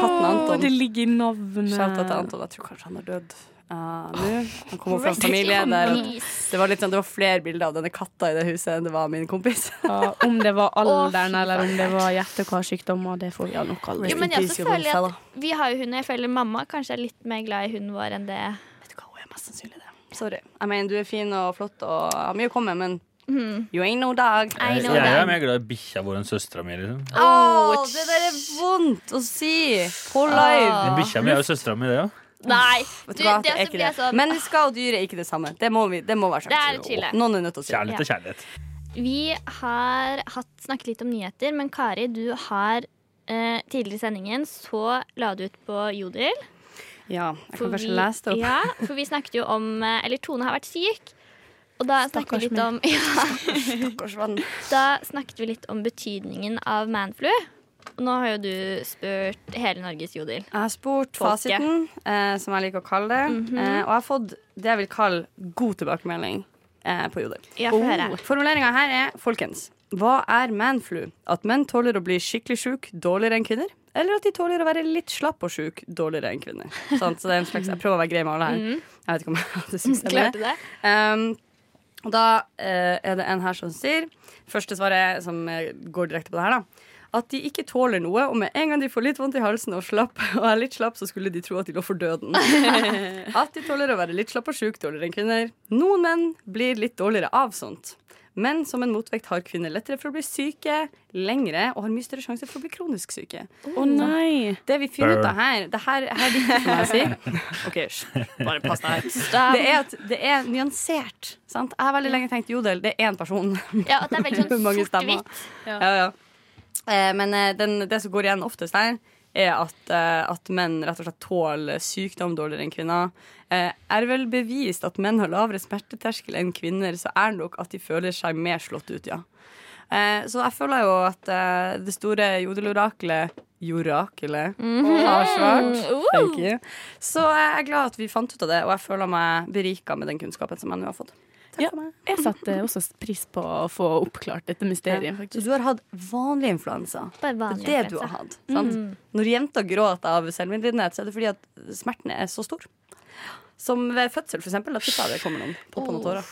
F: Katten
D: Anton.
F: Det ligger i navnet.
D: Shout out til Anton. Jeg tror kanskje han er død. eh, nå. Han kom opp fra en
C: Rest
D: familie
C: in
D: der
F: Mm.
C: peace.
D: det var, litt sånn, det var flere bilder av denne katta i det huset enn det var av min kompis.
F: Ja, om det var alderen eller om det var hjerte- og karsykdommer, det får vi ja nok aldri.
C: Jo, men jeg også føler at Vi har jo hund, og jeg føler mamma kanskje er litt mer glad i hunden vår enn det.
D: Vet du hva, hun er mest sannsynlig det. Sorry. Jeg mener, du er fin og flott og har mye å komme med, men you ain't no dog.
C: I know
G: Jeg
C: that.
G: er mer glad i bikkja vår enn søstera mi. Liksom.
D: Åh, det der er vondt å si på live.
F: Ah.
G: Men Bikkja mi er jo søstera mi, det òg.
C: Nei! Du, det
D: Vet du hva, det
C: også
D: er ikke
C: blir
D: det.
C: jeg sånn
D: Men skal og dyr er ikke det samme. Det må, vi, det må være
C: Det er
D: sant.
C: et skille.
D: Noen er nødt til å si det.
G: Kjærlighet er kjærlighet.
C: Vi har hatt, snakket litt om nyheter, men Kari, du har eh, tidligere i sendingen så la du ut på Jodel.
D: Ja, jeg
C: for
D: kan kanskje
C: vi-
D: lese det opp.
C: Ja, for vi snakket jo om eh, Eller Tone har vært syk. Og da snakket, vi litt om, ja,
D: Stakkars venn.
C: da snakket vi litt om betydningen av manflu. Og nå har jo du spurt hele Norges Jodel.
D: Jeg har spurt
C: Folket. Mhm.
D: fasiten, eh, som jeg liker å kalle det. eh, og jeg har fått det jeg vil kalle god tilbakemelding eh, på Jodel.
C: Ja, få høre.
D: Formuleringa her er folkens. Hva er manflu? At menn tåler å bli skikkelig sjuk dårligere enn kvinner? Eller at de tåler å være litt slapp og sjuk dårligere enn kvinner? Sant? Så det er en slags, Jeg prøver å være grei med alle her.
C: Mhm.
D: Jeg vet ikke om jeg hadde syntes det.
C: Klarte det?
D: Um, og da eh, er det en her som sier Første svaret som eh, går direkte på det her da at de ikke tåler noe, og med en gang de får litt vondt i halsen og slapp, og er litt slapp, så skulle de tro at de lå for døden. At de tåler å være litt slapp og sjuk dårligere enn kvinner. Noen menn blir litt dårligere av sånt. Men som en motvekt har kvinner lettere for å bli syke lengre og har mye større sjanse for å bli kronisk syke.
F: Å nei!
D: Det vi finner ut av her Det her, her er viktig for meg å si. OK, hysj. Bare pass deg. Det er at det er nyansert. Sant? Jeg har veldig lenge tenkt jodel, det er én person.
C: Ja, at det er veldig sånn
D: Mange stemmer.
C: sort-hvitt.
D: Ja, ja. Eh, men eh, den, det som går igjen oftest her, er at, eh, at menn rett og slett tåler sykdom dårligere enn kvinner. Eh, er vel bevist at menn har lavere smerteterskel enn kvinner, så er det nok at de føler seg mer slått ut, ja. Eh, så jeg føler jo at eh, det store jodeloraklet Jorakelet har svart. Thank you. Så jeg er glad at vi fant ut av det, og jeg føler meg berika med den kunnskapen som jeg nå har fått. Takk
F: Ja.
D: for meg.
F: Jeg satte også pris på å få oppklart dette mysteriet,
D: Så
F: faktisk.
D: du har hatt vanlig influensa?
C: Bare vanlig
D: Det er det du har
C: influensa.
D: hatt. Sant?
F: Mm.
D: Når jenter gråter av selvmedlidenhet, så er det fordi at smerten er så stor. Som ved fødsel, for eksempel. Da tipper jeg det kommer noen popper noen tårer.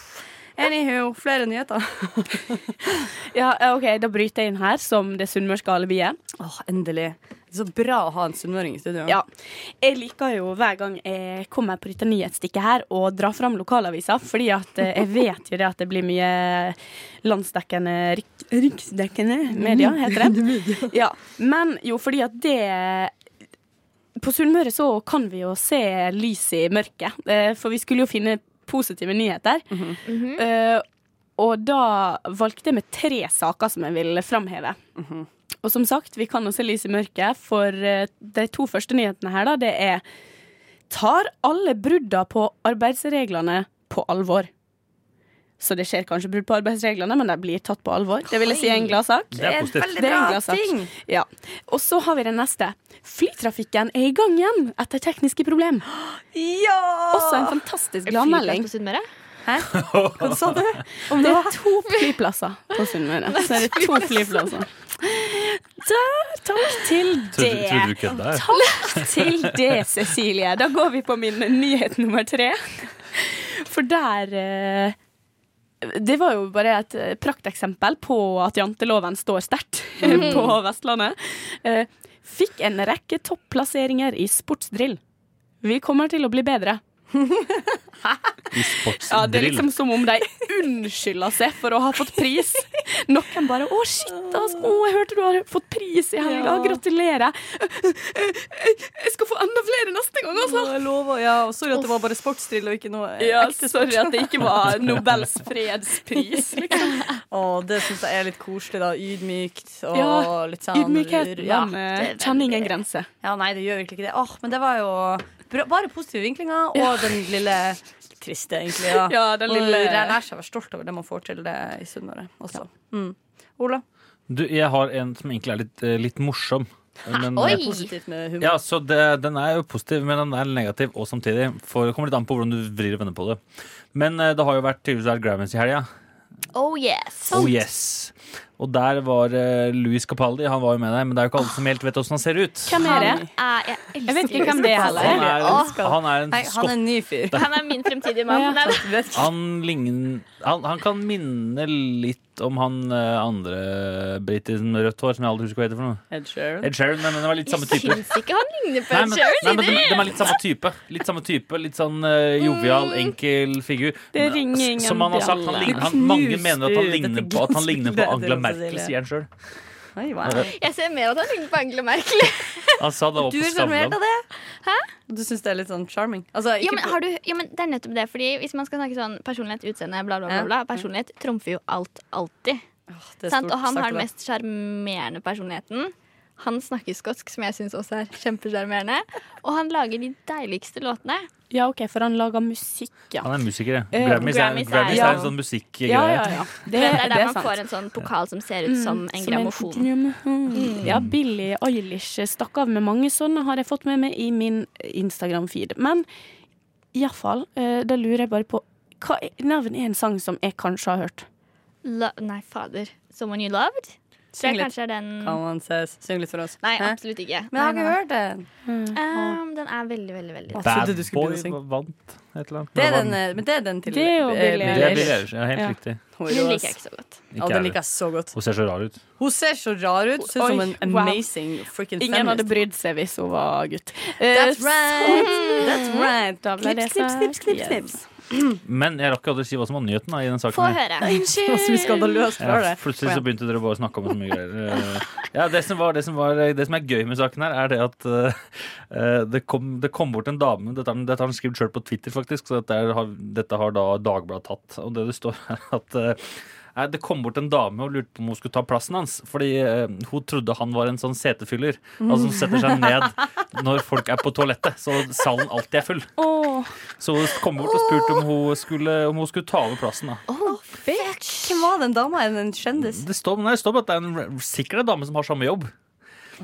D: Anywho, flere nyheter.
F: Ja, eh, ok, Da bryter jeg inn her som det sunnmørske alibiet.
D: Åh, endelig. Det er så bra å ha en sunnmøring i studio.
F: Ja. Jeg liker jo hver gang jeg kommer på dette nyhetsstikket her og drar fram lokalavisa, fordi at eh, jeg vet jo det at det blir mye landsdekkende rik- Riksdekkende media, heter det. Ja. Men jo, fordi at det På Sunnmøre så kan vi jo se lys i mørket, eh, for vi skulle jo finne positive nyheter. Eh, og da valgte jeg med tre saker som jeg ville framheve. Og som sagt, vi kan jo se lys i mørket, for eh, de to første nyhetene her, da, det er Tar alle brudda på arbeidsreglene på alvor? Så det skjer kanskje brudd på arbeidsreglene, men de blir tatt på alvor. Det vil jeg si er en gladsak.
G: Det er positivt.
F: Det er en gladsak. Ja. Og så har vi den neste. Flytrafikken er i gang igjen etter tekniske problem. Også en fantastisk
C: Flyplass
F: gladmelding.
C: på Sunnmøre?
D: Hva sa du?
F: Det er to flyplasser på Sunnmøre. Så er det to flyplasser. Der, takk til det.
G: Trodde trodde du kødda? jeg.
F: Takk til det, Cecilie. Da går vi på min nyhet nummer tre. For der eh, Det var jo bare et eh, prakteksempel på at janteloven står sterkt på Vestlandet. Eh, Fikk en rekke topplasseringer i sportsdrill. Vi kommer til å bli bedre.
G: I
F: Ja, Det er
G: sportsdrill.
F: liksom som om de unnskylder seg for å ha fått pris. Noen bare 'Å, shit, altså, å, jeg hørte du har fått pris i helga. Gratulerer.' Jeg skal få enda flere neste gang, altså.
D: Jeg lover, ja. og Sorry at det var bare sportsdrill og ikke noe eh,
F: Ja,
D: ekte sport.
F: sorry at det ikke var Nobels fredspris, liksom.
D: Å, det syns jeg er litt koselig, da. Ydmykt og
F: Ja,
D: litt sånn
F: Ydmykheten
D: Ja.
F: den, eh, kjenner ingen grense.
D: Ja, nei, det gjør virkelig ikke det. Åh, men det var jo bra, bare positive vinklinger, og den lille triste, egentlig. Ja,
F: Ja, den lille-
D: Og eh, jeg lærer seg å være stolt over det man får til det i Sunnmøre også. Mm. Ola,
G: Du, jeg har en som egentlig er litt, eh, litt morsom. Men,
C: Oi!
G: eh,
D: positivt med humor.
G: Ja, så det, Den er jo positiv, men den er negativ og samtidig. For, det kommer litt an på hvordan du vrir og vender på det. Men eh, det har jo vært tydeligvis vært Grammys i helga.
C: Oh yes.
G: Oh yes. Og der var eh, Louis Capaldi. Han var jo med der, men det er jo ikke alle som helt vet åssen han ser ut.
F: Hvem er
C: Han
F: det?
C: Sånn er, jeg elsker
F: Jeg vet ikke hvem
C: Louis
F: det er
C: Capaldi.
G: Han
F: heller.
G: er en, han
D: Nei,
G: er en
D: han er
G: skott...
D: en ny fyr.
C: Han er min fremtidige mann.
F: Ja.
C: Nei,
G: Han, ligner, han, han kan minne litt om han eh, andre briten med rødt hår, som jeg aldri husker hva heter for noe.
D: Ed Sheeran.
G: Ed Sheeran, nei, men den var litt samme
C: Jeg
G: type.
C: syns ikke han ligner på
G: Nei,
C: en
G: men, nei,
C: Sharon.
G: men de, de er litt samme type. Litt samme type, Litt sånn eh, jovial,
D: Mm.
G: enkel figur.
F: Det
G: Men,
F: ringer
G: s-
F: ingen
G: Som han har sagt, han,
F: bjelle.
G: ligner- han, mange
D: Knuste
G: mener at han
D: ut
G: ligner
D: dette
G: på, at han ligner på
D: glansbildet,
G: Angela
D: Rosa
G: Merkel,
D: Silje.
G: sier han sjøl.
D: Oi, wow.
C: Jeg ser mer at han ligner på Angela Merkel.
G: Han sa det
D: Du
G: oppe på
D: er sjarmert
G: Skavlan.
D: av det? Du syns det er litt sånn charming? Altså,
C: Ja,
D: ikke
C: men, har du, ja, men det er nettopp det. Fordi Hvis man skal snakke sånn personlighet, utseende, bla, bla, bla,
D: Ja.
C: bla Personlighet trumfer jo alt alltid.
D: Åh, det er
C: sant?
D: stort
C: Og han
D: sagt,
C: har den
D: Ola.
C: mest sjarmerende personligheten. Han snakker skotsk, som jeg syns også er kjempesjarmerende. Og han lager de deiligste låtene.
F: Ja, OK, for han lager musikk, ja.
G: Han er musiker, ja.
F: Eh,
G: Grammys er,
C: Grammys er-
G: Grammys
F: ja.
G: er en sånn musikkgreie.
F: Ja, ja, ja.
C: Det, det er der man
F: sant.
C: får en sånn pokal som ser ut som en grammofon.
F: grammofon.
D: Mm.
F: Ja, Billie Eilish stakk av med mange sånne, har jeg fått med meg i min Instagram-feed. Men iallfall, eh, da lurer jeg bare på hva er- Navn er en sang som jeg kanskje har hørt.
C: Lo nei, fader. Someone you loved? Tror jeg
D: Syng litt.
C: kanskje er den
D: Kan man ses? Syng litt for oss.
C: Nei,
D: Hæ?
C: absolutt ikke.
D: Men jeg har
C: Nei,
D: ikke hørt den.
C: nei. Um, den er veldig, veldig veldig
D: Jeg trodde
G: Bad
D: du skulle
G: Boy
D: begynne å synge.
G: vant et eller annet.
D: Det er den, eh, men det er den til
F: Det er jo
D: eh,
F: Billie
G: Det
D: Billie
G: er Billie
D: Eilish.
G: Eilish, ja, helt
F: Ja.
G: riktig.
C: Den liker jeg ikke så godt.
D: Ja,
G: Ikke
D: den
G: jeg
D: liker jeg så godt.
G: Hun ser så rar ut.
D: Hun ser så rar ut. Ser ut
F: Oi,
D: som en
F: wow.
D: amazing freaking
F: Ingen hadde
D: feminist.
F: brydd seg hvis hun var gutt. Eh,
D: That's right. That's right.
F: Da ble det
D: Snips, snips,
F: sagt.
D: snips, snips,
F: Yes.
D: snips.
G: Men jeg rakk aldri å si hva som var nyheten da, i den saken.
C: Få
G: her.
C: høre.
D: Hva som vi skandaløst fra
G: Ja,
D: det.
G: plutselig så
D: Kom igjen.
G: begynte dere bare å snakke om så mye greier. Eh, Ja, det, som var, det, som var, det som er gøy med saken her, er det at eh, eh, det, kom, det kom bort en dame Dette har han- dette har han skrevet sjøl på Twitter, faktisk, så dette, er, har- dette har da Dagbladet tatt. Og det det står er at eh, nei, det kom bort en dame og lurte på om hun skulle ta plassen hans. Fordi eh, hun trodde han var en sånn setefyller. Altså som setter seg ned når folk er på toalettet. Så salen alltid er full.
F: Åh,
G: Så hun kom bort og spurte om hun skulle, om hun skulle ta over plassen. da
D: Hvem var den dama? Er det en kjendis?
G: Det står, nei, det står bare at det er en, sikkert en dame som har samme jobb.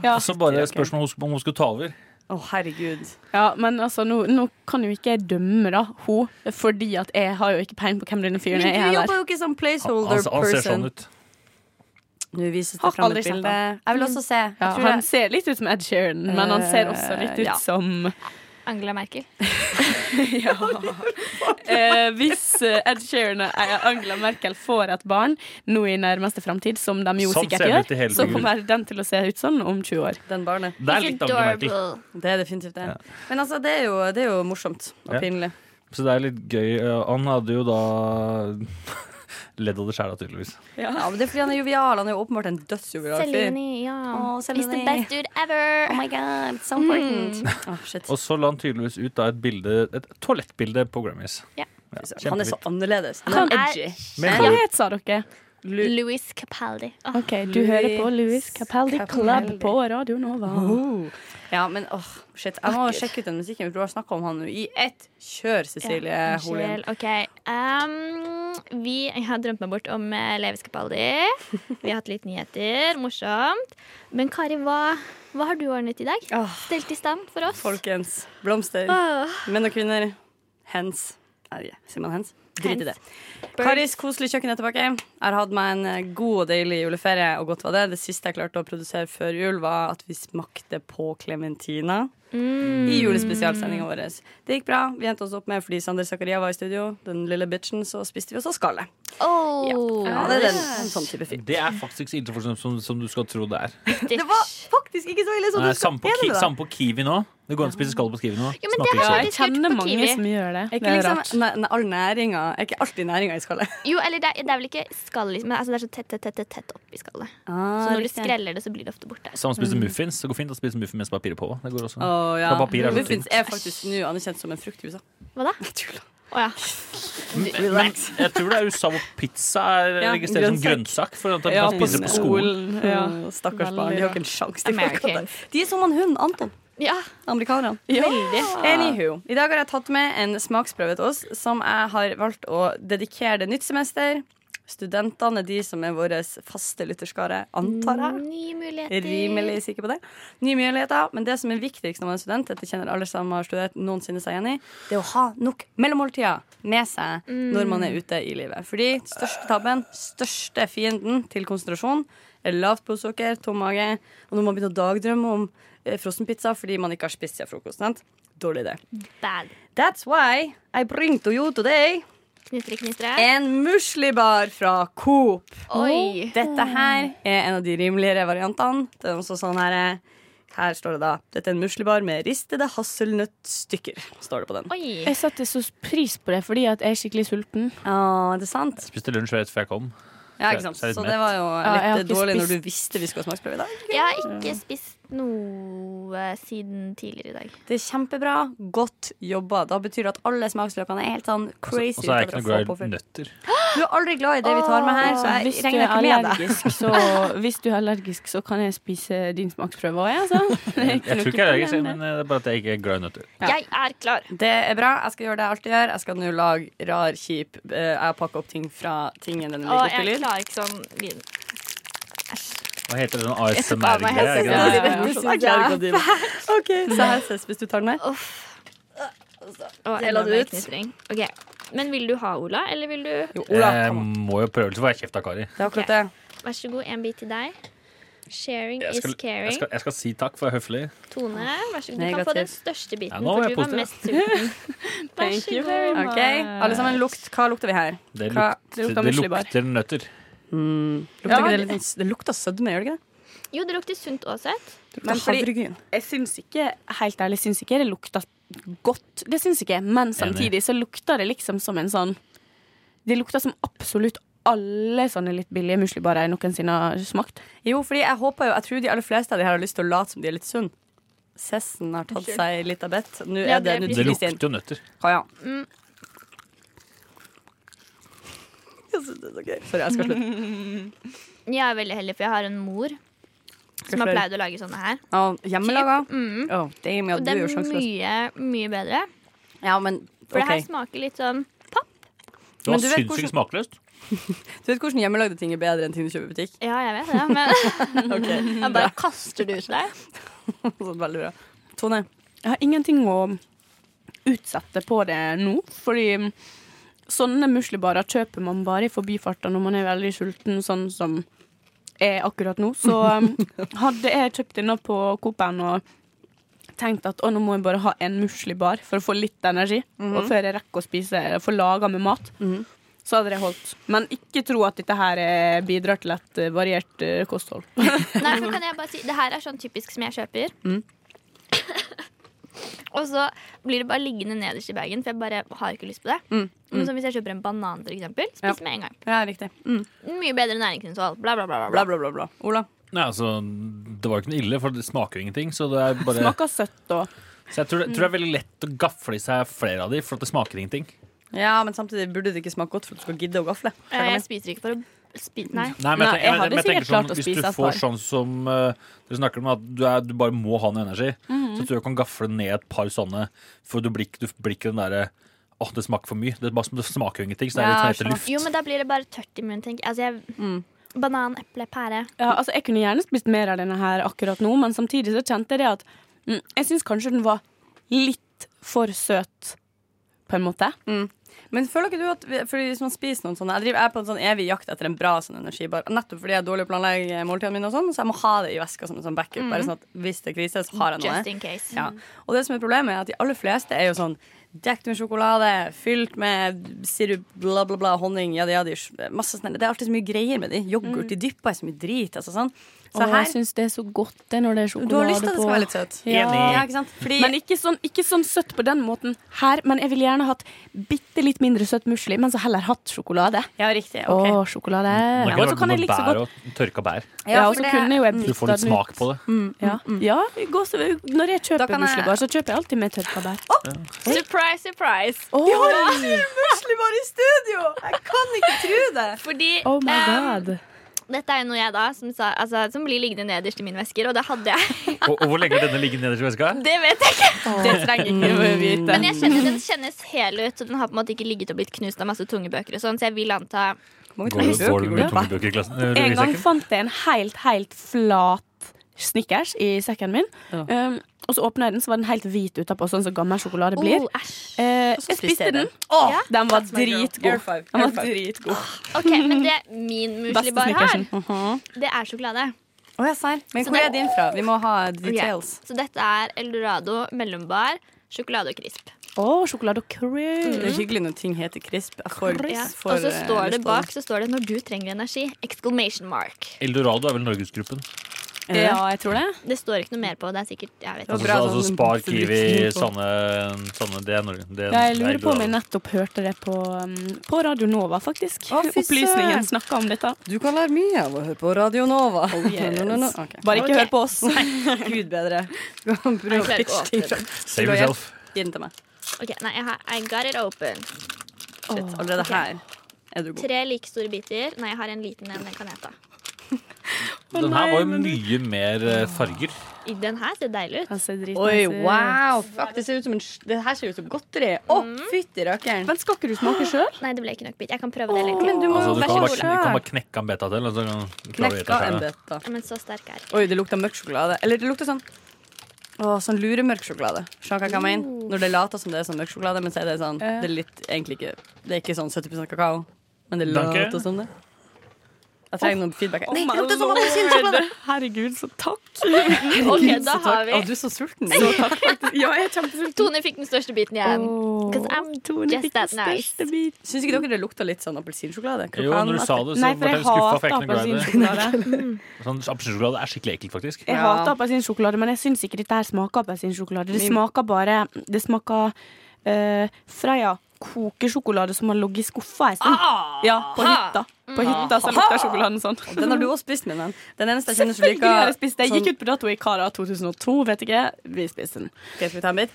F: ja.
G: Og så bare spørsmål om hun- om hun skulle ta over.
D: Å, herregud.
F: ja, men altså, nå, nå kan jo ikke jeg dømme da, hun, fordi at jeg har jo ikke peiling på hvem denne fyren
D: Men
F: er.
D: du
F: heller.
D: jobber jo ikke som
G: Han,
D: placeholder
G: han, han ser
D: person.
G: sånn ut.
D: Nå vises
F: Har
D: det fram
F: aldri
D: et
F: sett
D: bilde. Jeg vil også se. Jeg
F: Ja,
D: tror
F: han
D: jeg-
F: ser litt ut som Ed Sheeran, men han ser også litt ut
D: ja.
F: som
C: Angela Merkel.
F: Ja. Eh, hvis eh, Ed Sheeran og eh, Angela Merkel får et barn nå i nærmeste framtid, som de jo
G: Sånn
F: sikkert
G: ser det
F: gjør,
G: ut i hele
F: så
G: figuren.
F: kommer den til å se ut sånn om 20 år.
D: den barnet.
G: Det er
C: He's
G: litt Angela Merkel.
C: adorable.
D: Det er definitivt det. Men altså, det er jo, det er jo morsomt og
G: Ja.
D: pinlig.
G: Så det er litt gøy. Eh, Han hadde jo da ledd av det sjæla, tydeligvis.
D: Ja, men det er fordi han er jovial. Han er jo åpenbart en dødsjovial fyr.
C: Selini, ja.
D: Åh,
C: He's the
D: Selini.
C: best dude ever.
D: Oh my god, so important. Åh, Mm. Ah, shit.
G: Og så la han tydeligvis ut da et bilde Et toalettbilde på Grammys.
C: Ja.
D: Han er så annerledes. Han
F: Kan,
C: er-
G: Men
F: hva
G: hvor-
F: het sa dere?
D: Lu-
C: Louis Capaldi. Åh,
F: Ok, Du hører på Louis Capaldi Club
D: Capaldi.
F: på Radio Nova.
D: Oh. Ja, men åh, shit. Jeg må sjekke ut den musikken. for Du har snakka om han nå i ett kjør, Cecilie
C: ja,
D: Holin.
C: unnskyld. OK. Um, vi jeg har drømt meg bort om eh, Levis Capaldi. Vi har hatt litt nyheter. Morsomt. Men Kari, hva, hva har du ordnet i dag?
D: Åh,
C: Stelt i stand for oss?
D: folkens. Blomster.
C: Åh,
D: Menn og kvinner. Hens. Nei, sier man hens? Drit i det.
C: Birds.
D: Karis koselig kjøkken er tilbake. Jeg har hatt meg en eh, god og deilig juleferie, og godt var det. Det siste jeg klarte å produsere før jul, var at vi smakte på klementina i julespesialsendinga vår. Det gikk bra. Vi endte oss opp med, fordi Sander Zakaria var i studio, den lille bitchen, så spiste vi også skallet.
C: Åh,
D: Ja, det er den, en sånn type fyr.
G: Det er faktisk ikke så forsomt som, som du skal tro det er.
C: stitch.
D: Det var faktisk ikke så ille som
G: Nei,
D: du skal
G: Samme på, ki, samme på Kiwi nå. Det går an å spise skall på Kiwi
C: Jo,
G: nå.
C: men
G: Smaker
C: det er
G: ikke.
F: Ja,
C: det
F: jeg
C: skulle
F: kjenner
C: på
F: mange
C: Kiwi.
F: som gjør det.
D: Er
F: Det
D: ikke
F: er rart.
D: liksom, ne, ne, all næringa Er ikke alltid næringa i skallet.
C: Jo, eller det, er- det er vel ikke skall, liksom, men altså, det er så tett, tett, tett, tett, tett oppi skallet. Så når du skreller det, så blir det ofte borte.
G: Samme spise muffins. Det går fint å spise muffins mens papiret er på. Det går også.
D: Å, ja.
G: Fra papir er det
D: Muffins er faktisk nå anerkjent som en frukt i USA.
C: Hva da?
D: Jeg tuller.
C: Å ja.
D: Relax.
G: Jeg tror det er USA hvor pizza er
D: Ja,
G: registrert som grønnsak. For at de kan spise
F: mm.
G: på skolen.
F: Ja.
D: Åh, Stakkars
F: Veldig
D: barn. De
F: bra.
D: har ikke en sjanse. De, får ikke
C: American.
D: det. de er som han hunden Anton.
C: ja.
D: Amerikanerne.
C: Veldig.
D: Anywho. I dag har jeg tatt med en smaksprøve til oss som jeg har valgt å dedikere det nytt semester. Studentene er de som er vår faste lytterskare, antar jeg.
C: Nye muligheter.
D: Rimelig sikker på det. Nye muligheter, men det som er viktigst når man er student, dette kjenner alle som har studert noensinne seg igjen i, det er å ha nok mellommåltider med seg når man er ute i livet. Fordi største tabben, største fienden til konsentrasjon, er lavt blodsukker, tom mage, og når man begynner å dagdrømme om eh, frossenpizza fordi man ikke har spist siden frokost. Sant? Dårlig idé.
C: Bad.
D: That's why I bring to you today
C: Knitre, knitre.
D: en muslibar fra Coop.
C: Oi.
D: Dette her er en av de rimeligere variantene. Det er også sånn her eh, Her står det da Dette er en muslibar med ristede hasselnøttstykker. Står det på den.
C: Oi.
F: Jeg satte så pris på det fordi at jeg er skikkelig sulten.
D: Ja, det er sant.
G: Spiste lunsj rett før jeg kom.
D: Ja, ikke sant?
G: Så jeg er litt
D: Så det var jo
F: jeg har
D: litt
F: ikke
D: dårlig når du
F: spist.
D: visste vi skulle ha smaksprøve i dag.
C: Jeg har ikke spist noe siden tidligere i dag.
D: Det er kjempebra. Godt jobba. Da betyr det at alle smaksløkene er helt sånn
G: Og
D: crazy.
G: så er jeg
D: ut av det å
G: ikke noe
D: få
G: glad i
D: påfyll.
G: nøtter.
D: Du er aldri glad i det vi tar med her, så
F: hvis du
D: jeg
F: er
D: regner ikke med deg.
F: allergisk, så, hvis du er allergisk, så kan jeg spise din smaksprøve òg, jeg, altså.
G: Jeg tror ikke jeg er allergisk,
F: problem,
G: men eh, det er bare at jeg ikke er glad i nøtter.
C: Jeg er klar.
D: Det er bra. Jeg skal gjøre det jeg alltid gjør. Jeg skal nå lage rar, kjip eh, Jeg pakker opp ting fra tingen den
C: Å,
D: ligger oppi
C: jeg
D: lyd.
C: klarer ikke sånn lyd.
G: Hva heter det sånn
C: tok av meg
G: ASMR-greie?
C: headsetet.
G: ikke
F: Ja, sånn ja,
G: det?
F: ja.
D: Jeg klarer ikke å drive. Ok, så her ses hvis du tar den her.
C: Å,
D: Del
C: enda
D: av
C: mer
D: det ut.
C: knitring. Ok. Men vil du ha Ola, eller vil du
D: Jo, Ola,
G: Jeg
D: kom an.
G: må jo prøve, så får jeg kjeft av Kari.
D: Det er akkurat det.
C: Vær så god, en bit til deg. Sharing
G: Jeg skal,
C: is caring.
G: jeg, skal, jeg skal si takk for høflig.
C: Tone, vær så god. Du kan
D: Negativ.
C: få den største
G: Ja,
C: biten,
G: nå var
C: for du
G: jeg
C: var
G: positiv.
C: mest sulten. Vær
F: Thank you
C: så
F: very
C: god.
D: OK, alle sammen, lukt. Hva lukter vi her?
G: Det
D: Hva?
F: Det
G: lukter,
F: lukter
G: det
F: muslibar.
G: lukter nøtter.
D: Mm, lukter
F: Ja,
D: ikke det, litt, sånn- det lukter sødme, gjør det ikke det?
C: Jo, det lukter sunt og søtt.
F: Men fordi-
D: havregryn.
F: Jeg syns ikke, helt ærlig, syns ikke det lukta godt. Det syns ikke, men samtidig så lukta det liksom som en sånn Det lukta som absolutt alle sånne litt billige muslibarer jeg noensinne har smakt.
D: Jo, fordi jeg håper jo Jeg tror de aller fleste av de her har lyst til å late som de er litt sunn Sessen har tatt seg litt av bett. Nå
C: Ja,
D: er
C: det
D: det Mm. Nå
C: blir-
G: Det
D: tygges det inn.
G: lukter jo nøtter.
D: Kaja. Jeg synes det er så gøy. Sorry, jeg skal slutte.
C: Jeg er veldig heldig, for jeg har en mor som har
D: Gratulerer.
C: pleid å lage sånne her.
D: Ja, Hjemmelaga?
C: Mm.
D: Å, damn, ja,
C: Og
D: du
C: det
D: er jo
C: er
D: sjanseløs.
C: mye, mye bedre.
D: Ja, men
C: For det her
D: ok.
C: smaker litt sånn
G: Det
D: Men
G: var
D: du vet
G: sinnssykt
D: hvordan-
G: smakløst.
D: Du vet hvordan hjemmelagde ting er bedre enn ting du kjøper i butikk?
C: Ja, jeg vet det, men
D: Ok,
C: jeg bare kaster det ut der.
D: sånn, Veldig bra. Tone,
F: Jeg har ingenting å utsette på det nå, fordi sånne muslibarer kjøper man bare i forbifarten når man er veldig sulten, sånn som jeg akkurat nå. Så um, hadde jeg kjøpt denne på Coop-en og tenkt at å, nå må jeg bare ha en muslibar for å få litt energi, og før jeg rekker å spise eller få laga med mat. Så hadde det holdt. Men ikke tro at dette her eh, bidrar til et eh, variert eh, kosthold.
C: Nei, for kan jeg bare si Det her er sånn typisk som jeg kjøper.
G: Mm.
C: Og så blir det bare liggende nederst i bagen, for jeg bare har ikke lyst på det.
G: Mm.
C: Men som hvis jeg kjøper en banan, for eksempel. Spis med en gang.
D: Ja, riktig. Mm.
C: Mye bedre næringsinnhold. Bla, bla, bla. bla,
D: Bla,
C: bla.
D: bla, bla, bla. Ola?
G: Nei, altså, det var jo ikke noe ille, for det smaker jo ingenting. Så, det er bare,
F: Smaker søtt og
G: så jeg tror det, tror det
D: Mm.
G: er veldig lett å gafle i seg flere av de, for at det smaker ingenting.
D: Ja, men samtidig burde det ikke smake godt for at du skal gidde å gafle.
C: Eh, Jeg spiser ikke for å spise Nei.
G: Nei, men
F: Nei, jeg
G: jeg,
F: hadde
G: tenker- men jeg
F: sikkert
G: tenker sånn,
F: klart å
G: Hvis
F: spise
G: du
F: et
G: får
F: par.
G: sånn som eh, dere snakker om, at du, er, du bare må ha noe energi,
F: Mhm.
G: så tror jeg du kan gafle ned et par sånne, for du blir ikke du blir ikke den derre Åh, det smaker for mye. Det, er bare, som- det smaker jo ingenting. Så det er
D: Ja,
G: litt som heter
D: skjønner.
G: luft.
C: Jo, men da blir det bare tørt i munnen, tenker jeg. Altså, jeg
D: Mm.
C: Banan, eple, pære.
F: Ja, altså Jeg kunne gjerne spist mer av denne her akkurat nå, men samtidig så kjente jeg det at mm, Jeg syns kanskje den var litt for søt, på en måte.
D: Mm. Men føler ikke du at fordi Hvis man spiser noen sånne Jeg, driver, jeg er på en sånn evig jakt etter en bra sånn energibar. Nettopp fordi jeg er dårlig til å planlegge måltidene mine, og sånn så jeg må ha det i veska som en sånn backup. Bare sånn at hvis det er krise, så har jeg noe.
C: Mm. Just in case.
D: Ja. Og det som er problemet, er at de aller fleste er jo sånn Dekt med sjokolade, fylt med sirup, bla, bla, bla, honning, jadi, jadi. sj- Masse sånne. Det er alltid så mye greier med de. Yoghurt, de dypper i så mye drit. Altså, sånn. Så
F: og jeg
D: her
F: syns det er så godt det når det er
D: Du har lyst
F: sjokolade
D: til at det
F: på.
D: skal være litt søtt.
F: Ja. Enig.
D: Ja, ikke sant? Fordi,
F: Men ikke sånn, ikke sånn søtt på den måten her, men jeg ville gjerne hatt bitte litt mindre søt musli, men så heller hatt sjokolade.
D: ja, riktig.
F: Å,
D: ok.
F: sjokolade.
G: Man
F: Ja, og så
G: lage
F: kan
G: noe
F: jeg like så
G: bær
F: godt
G: og tørka bær.
F: Ja, og
D: for
F: så
D: det- Mm.
F: kunne jo jeg
G: Så du
F: bytta
G: får litt
F: den ut.
G: smak på det.
F: Ja, ja jeg går så, Når jeg
D: Da
F: kjøper
D: kan jeg-
F: muslibar, så kjøper jeg alltid med tørka bær.
C: Surprise, surprise!
F: Oh,
D: Plutselig var i studio! Jeg kan ikke tro det!
C: Fordi
F: oh my
C: eh,
F: god.
C: dette er jo noe jeg da som, sa, altså, som blir liggende nederst i mine vesker, og det hadde jeg.
G: Og, og hvor lenge har denne ligget nederst i veska?
C: Det vet jeg ikke.
F: Det trenger ikke vi vite.
C: Men jeg kjenner, den kjennes hel ut, så den har på en måte ikke ligget og blitt knust av masse tunge bøker og sånn, så jeg vil anta
D: Mange
G: Går,
D: tanker.
G: går du med tomme bøker i klassen? eh,
F: En gang
G: ryggsekken?
F: fant jeg en helt, helt flat Snickers i sekken min.
D: Ja.
F: Um, og så åpna jeg den, så var den helt hvit utapå, sånn som gammel sjokolade blir.
C: oh, æsj.
F: Eh,
D: så
F: jeg
D: spiste
F: spiste
D: jeg
F: den.
C: Ja,
F: Åh, den var
C: that's my girl.
D: Air
F: dritgod.
D: five,
F: Den
D: air
F: var
D: five.
F: dritgod.
C: OK, men det min
F: Beste
C: musli bare har,
F: Snickersen.
C: det er sjokolade.
D: Å, ja, serr. Men
C: Så
D: hvor
C: det-
D: er din fra? Vi må ha details.
C: Så dette er Eldorado mellombar, sjokolade og krisp.
F: Å, sjokolade og
D: Det
F: krøll.
D: er hyggelig når ting heter crisp. Jeg får-
C: Ja.
D: får,
C: Og så
D: eh,
C: står det
D: lyst på
C: bak så står det 'når du trenger energi'. Exclamation mark.
G: Eldorado er vel Norgesgruppen?
D: Er det det?
F: Ja, jeg tror det.
C: Det står ikke noe mer på. Det er sikkert Jeg vet
D: var
G: Altså,
C: ikke.
D: bra,
G: altså
D: sånn
G: Spar, Kiwi,
D: produksjon på-
G: Sanne, Sanne Det er Norge. Det er,
F: Jeg
G: det er
F: lurer på om jeg
G: Eldorado.
F: nettopp hørte det på, um, på Radio Nova, faktisk.
D: Å, fy søren.
F: Opplysningen snakka om dette.
D: Du kan lære mye av å høre på Radio Nova.
F: yes.
D: No, no, no. Ok.
F: Bare ikke
C: Ok.
F: hør på oss.
D: Gud bedre. Du kan prøve
C: Jeg
D: å
C: klarer ikke å
D: pitche ting fram.
G: Save yourself.
D: Gi den til meg.
C: Ok, nei, jeg har I got it open.
D: Shit, allerede her er du god.
C: Tre like store biter. Nei, jeg har en liten en. Den kan jeg ta.
G: Den her var jo mye mer eh, farger.
C: I Den her ser deilig ut.
F: Han ser dritnice
D: Oi,
F: ut.
D: wow! Fuck, det ser ut som en sj- Det her ser ut som godteri. Å,
C: Mm.
D: fytti rakkeren.
F: Men skal ikke du smake sjøl?
C: Nei, det ble ikke nok bit. Jeg kan prøve det. eller?
D: Men du må
G: Altså,
D: jo
G: du,
D: være
G: kan bare,
D: så
G: du kan bare
D: sjøl.
G: knekke en beta til. Og så kan du klare å gjøre
D: Knekka
G: det
D: en
G: selv.
D: beta.
C: Ja, men så sterk er jeg.
D: Oi, det lukter mørk sjokolade. Eller det lukter sånn å, sånn luremørk sjokolade. Skjønner hva jeg
C: Mm.
D: mener? Når det later som det er sånn mørk sjokolade, men så er det sånn
F: Ja.
D: Det er litt, egentlig ikke Det er ikke sånn 70 kakao, men det
G: Danke.
D: later som det. Jeg trenger noen feedback.
F: Oh
D: Nei,
F: my
D: lukter som
F: lord.
D: appelsinsjokolade!
F: Herregud, så takk.
C: Ok, da har
D: Å,
C: vi
D: du er så sulten.
F: Så takk, faktisk. Ja, jeg er kjempesulten.
C: Tone fikk den største biten igjen. 'Cause I'm just that nice.
D: Syns ikke dere det lukter litt sånn appelsinsjokolade?
G: Jo, når du sånn sa det, så
F: Nei, for
G: ble
F: jeg
G: jeg skuffa. For
F: hater
G: jeg er ikke noe glad i det.
F: appelsinsjokolade.
G: Sånn Appelsinsjokolade er skikkelig ekkelt, faktisk.
F: Jeg
D: Ja.
F: hater appelsinsjokolade, men jeg syns ikke dette her smaker appelsinsjokolade. Det
D: Min-
F: smaker bare Det smaker eh, Freia kokesjokolade som har ligget i skuffa en stund.
C: Ah!
F: Ja, på hytta.
C: Mm.
F: På hytta så lukter sjokoladen sånn.
D: Ah! Den har du også spist, min venn. Den eneste jeg kjenner som
F: Selvfølgelig har
D: liker sånn-
F: jeg spist det. Jeg
C: Sånn-
F: gikk ut på dato i Kara 2002, vet ikke. Vi spiste den.
D: Ok, Skal vi ta en bit?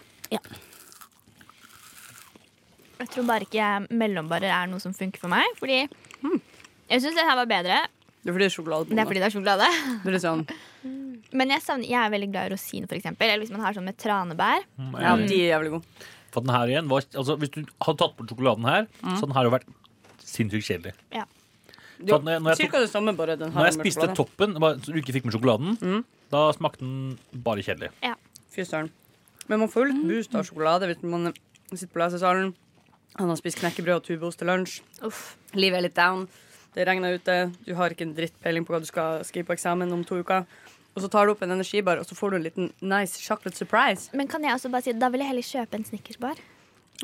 C: Jeg tror bare ikke jeg- mellombarer er noe som funker for meg. Fordi
D: Hmm.
C: jeg syns det her var bedre.
D: Det er fordi det er
C: Det er
D: sjokolade.
C: fordi det er sjokolade.
D: Det er litt sånn
C: Men jeg, savner, jeg er veldig glad i rosin, for eksempel. Eller hvis man har sånn med tranebær.
G: Mm.
D: Ja, de er jævlig gode.
G: For den her igjen var, altså, Hvis du hadde tatt bort sjokoladen her, så hadde den her vært sinnssykt kjedelig.
C: Ja.
G: Så at når jeg, når jeg, tok,
D: Cirka det samme, bare den har
G: når jeg
D: en mørk
G: spiste
D: sjokolade.
G: toppen, bare, så du ikke fikk med sjokoladen, da smakte den bare kjedelig.
D: Fy søren. Men man får jo litt
F: Mm.
D: boost av sjokolade hvis man sitter på lesesalen. Han har spist knekkebrød og tubeost til lunsj.
C: Uff.
D: Livet er litt down. Det regner ute. Du har ikke en drittpeiling på hva du skal skrive på eksamen om to uker. Og så tar du opp en energibar, og så får du en liten nice chocolate surprise.
C: Men kan jeg også bare si da vil jeg heller kjøpe en snickersbar?